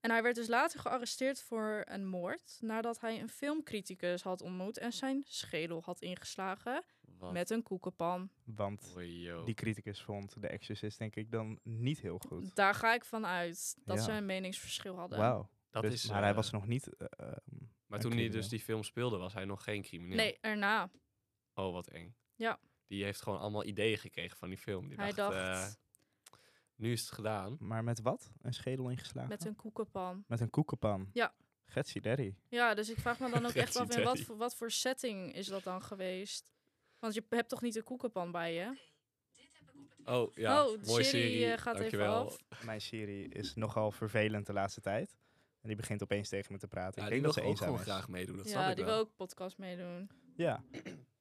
Speaker 2: En hij werd dus later gearresteerd voor een moord nadat hij een filmcriticus had ontmoet en zijn schedel had ingeslagen
Speaker 1: Wat
Speaker 2: met een koekenpan.
Speaker 3: Want
Speaker 1: mooi, joh.
Speaker 3: die criticus vond de Exorcist denk ik dan niet heel goed.
Speaker 2: Daar ga ik van uit dat
Speaker 3: Ja.
Speaker 2: ze een meningsverschil hadden.
Speaker 3: Wauw.
Speaker 1: Dat
Speaker 3: Dus-
Speaker 1: is,
Speaker 3: maar hij
Speaker 1: eh,
Speaker 3: was nog niet... eh, ehm,
Speaker 1: maar toen hij
Speaker 3: een
Speaker 1: dus
Speaker 3: crimineel.
Speaker 1: die film speelde, was hij nog geen crimineel.
Speaker 2: Nee, erna.
Speaker 1: Oh, wat eng.
Speaker 2: Ja.
Speaker 1: Die heeft gewoon allemaal ideeën gekregen van die film. Die
Speaker 2: hij dacht
Speaker 1: dacht, eh, nu is het gedaan.
Speaker 3: Maar met wat? Een schedel ingeslagen?
Speaker 2: met een koekenpan.
Speaker 3: Met een koekenpan?
Speaker 2: Ja.
Speaker 3: Getsy Derry.
Speaker 2: Ja, dus ik vraag me dan ook echt af in
Speaker 1: Gretchen
Speaker 2: wat,
Speaker 1: Teddy.
Speaker 2: voor- wat voor setting is dat dan geweest? Want je hebt toch niet een koekenpan bij je?
Speaker 1: Oh, ja.
Speaker 2: Oh, de
Speaker 1: mooie
Speaker 2: serie,
Speaker 1: serie.
Speaker 2: eh, gaat even
Speaker 1: Dankjewel.
Speaker 2: af.
Speaker 3: Mijn serie is nogal vervelend de laatste tijd. En die begint opeens tegen me te praten.
Speaker 1: Ja,
Speaker 3: ik
Speaker 1: die wil
Speaker 3: denk dat ze
Speaker 1: ook
Speaker 3: eenzaam
Speaker 1: gewoon
Speaker 3: is.
Speaker 1: graag meedoen. Dat snap
Speaker 2: ja,
Speaker 1: ik
Speaker 2: die
Speaker 1: wel.
Speaker 2: wil ook podcast meedoen.
Speaker 3: Ja.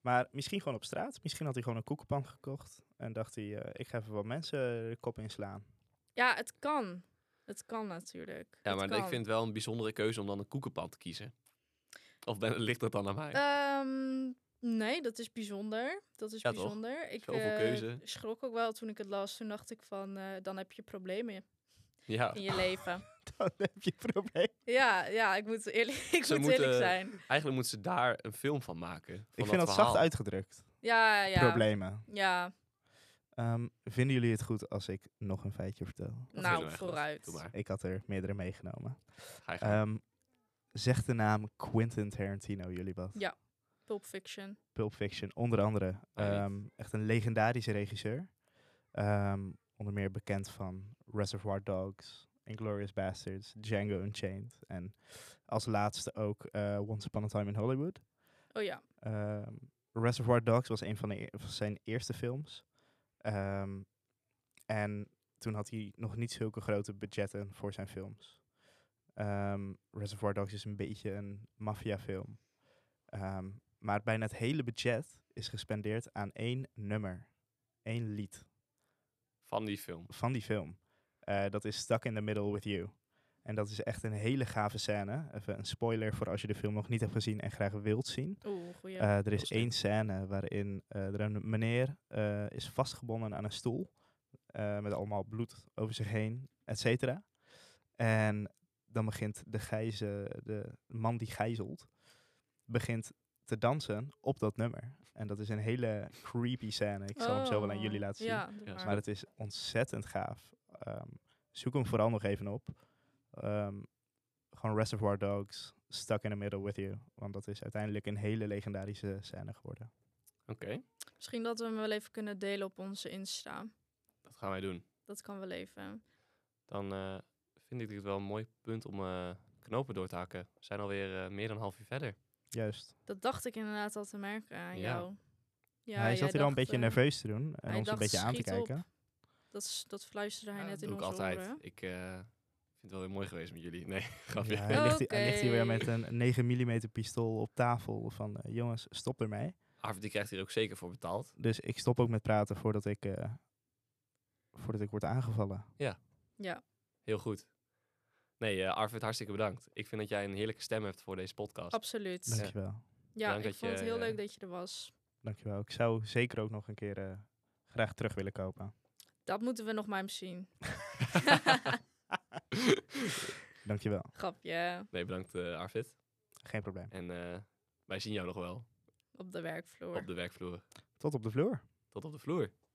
Speaker 3: Maar misschien gewoon op straat. Misschien had hij gewoon een koekenpan gekocht. En dacht hij, eh, ik ga even wat mensen de kop inslaan.
Speaker 2: Ja, het kan. Het kan natuurlijk.
Speaker 1: Ja,
Speaker 2: Het
Speaker 1: maar ik
Speaker 2: kan.
Speaker 1: vind het wel een bijzondere keuze om dan een koekenpan te kiezen. Of ben, ligt dat dan aan mij?
Speaker 2: Ehm, nee, dat is bijzonder. Dat is
Speaker 1: Ja, toch?
Speaker 2: bijzonder. Ik
Speaker 1: Zoveel
Speaker 2: eh,
Speaker 1: keuze.
Speaker 2: schrok ook wel toen ik het las. Toen dacht ik van, eh, dan heb je problemen
Speaker 1: ja,
Speaker 2: in je leven.
Speaker 3: Dan heb je een probleem.
Speaker 2: ja, ja, ik moet eerlijk, ik
Speaker 1: Ze
Speaker 2: moet eerlijk
Speaker 1: moeten-
Speaker 2: zijn.
Speaker 1: eigenlijk moeten ze daar een film van maken. Van
Speaker 3: ik vind dat
Speaker 1: verhaal.
Speaker 3: zacht uitgedrukt.
Speaker 2: Ja, ja.
Speaker 3: Problemen.
Speaker 2: Ja,
Speaker 3: Ehm, vinden jullie het goed als ik nog een feitje vertel?
Speaker 1: Dat vinden
Speaker 2: nou,
Speaker 1: wij goed.
Speaker 2: vooruit.
Speaker 1: Doe maar.
Speaker 3: Ik had er meerdere meegenomen.
Speaker 1: Ga je gang.
Speaker 3: Ehm, zegt de naam Quentin Tarantino jullie wat?
Speaker 2: Ja. Pulp Fiction.
Speaker 3: Pulp Fiction, onder andere.
Speaker 1: Ah, ja.
Speaker 3: Ehm, echt een legendarische regisseur. Ehm, onder meer bekend van Reservoir Dogs, Inglourious Bastards, Django Unchained. En als laatste ook eh, Once Upon a Time in Hollywood.
Speaker 2: Oh ja.
Speaker 3: Ehm, Reservoir Dogs was een van, de, e- van zijn eerste films. Ehm, en toen had hij nog niet zulke grote budgetten voor zijn films. Ehm, Reservoir Dogs is een beetje een maffiafilm. Ehm, maar bijna het hele budget is gespendeerd aan één nummer. Eén lied
Speaker 1: Van die film.
Speaker 3: van die film. Eh, dat is Stuck in the Middle with You. En dat is echt een hele gave scène. Even een spoiler voor als je de film nog niet hebt gezien en graag wilt zien.
Speaker 2: Oeh, goeie.
Speaker 3: Eh, er is
Speaker 1: sterk.
Speaker 3: één scène waarin eh, er een meneer eh, is vastgebonden aan een stoel. eh, met allemaal bloed over zich heen, et cetera. En dan begint de, gijze, de man die gijzelt, begint te dansen op dat nummer. En dat is een hele creepy scène. Ik zal hem zo wel aan
Speaker 2: Oh,
Speaker 3: jullie laten zien.
Speaker 2: Ja, doe
Speaker 1: Ja,
Speaker 2: maar.
Speaker 3: Maar het is ontzettend gaaf. Ehm, zoek hem vooral nog even op. Ehm, gewoon Reservoir Dogs, Stuck in the Middle with You. Want dat is uiteindelijk een hele legendarische scène geworden.
Speaker 1: Oké,
Speaker 2: Misschien dat we hem wel even kunnen delen op onze Insta.
Speaker 1: dat gaan wij doen.
Speaker 2: Dat kan wel even.
Speaker 1: Dan eh, vind ik dit wel een mooi punt om eh, knopen door te hakken. We zijn alweer eh, meer dan een half uur verder.
Speaker 3: Juist.
Speaker 2: Dat dacht ik inderdaad al te merken aan
Speaker 1: Ja.
Speaker 2: jou. Ja,
Speaker 3: hij
Speaker 2: jij
Speaker 3: zat hier al
Speaker 2: dacht,
Speaker 3: een beetje
Speaker 2: eh,
Speaker 3: nerveus te doen
Speaker 2: hij
Speaker 3: en ons een
Speaker 2: dacht,
Speaker 3: beetje aan te
Speaker 2: "Schiet op."
Speaker 3: kijken.
Speaker 2: Dat, is- dat fluisterde hij
Speaker 1: Ja,
Speaker 2: net
Speaker 1: dat
Speaker 2: in
Speaker 1: doe ik
Speaker 2: onze
Speaker 1: altijd.
Speaker 2: oren.
Speaker 1: Ik eh, vind het wel weer mooi geweest met jullie. Nee, grapje.
Speaker 3: Ja, hij, ligt, hier- hij ligt hier weer
Speaker 2: Oké.
Speaker 3: met een 9 mm pistool op tafel van eh, jongens, stop ermee.
Speaker 1: Arvid die krijgt hier ook zeker voor betaald.
Speaker 3: Dus ik stop ook met praten voordat ik, eh, voordat ik word aangevallen.
Speaker 2: Ja,
Speaker 1: Heel goed. Nee, eh, Arvid, hartstikke bedankt. Ik vind dat jij een heerlijke stem hebt voor deze podcast.
Speaker 2: absoluut. Ja,
Speaker 3: Dankjewel.
Speaker 1: Bedankt
Speaker 2: ik
Speaker 1: dat
Speaker 2: vond het
Speaker 1: je,
Speaker 2: heel
Speaker 1: eh,
Speaker 2: leuk dat je er was.
Speaker 3: Dankjewel. Ik zou zeker ook nog een keer eh, graag terug willen kopen.
Speaker 2: Dat moeten we nog maar eens zien.
Speaker 3: Dankjewel.
Speaker 2: Grapje.
Speaker 1: nee, bedankt eh, Arvid.
Speaker 3: Geen probleem.
Speaker 1: En eh, wij zien jou nog wel
Speaker 2: Op de werkvloer.
Speaker 1: op de werkvloer.
Speaker 3: Tot op de vloer.
Speaker 1: Tot op de vloer.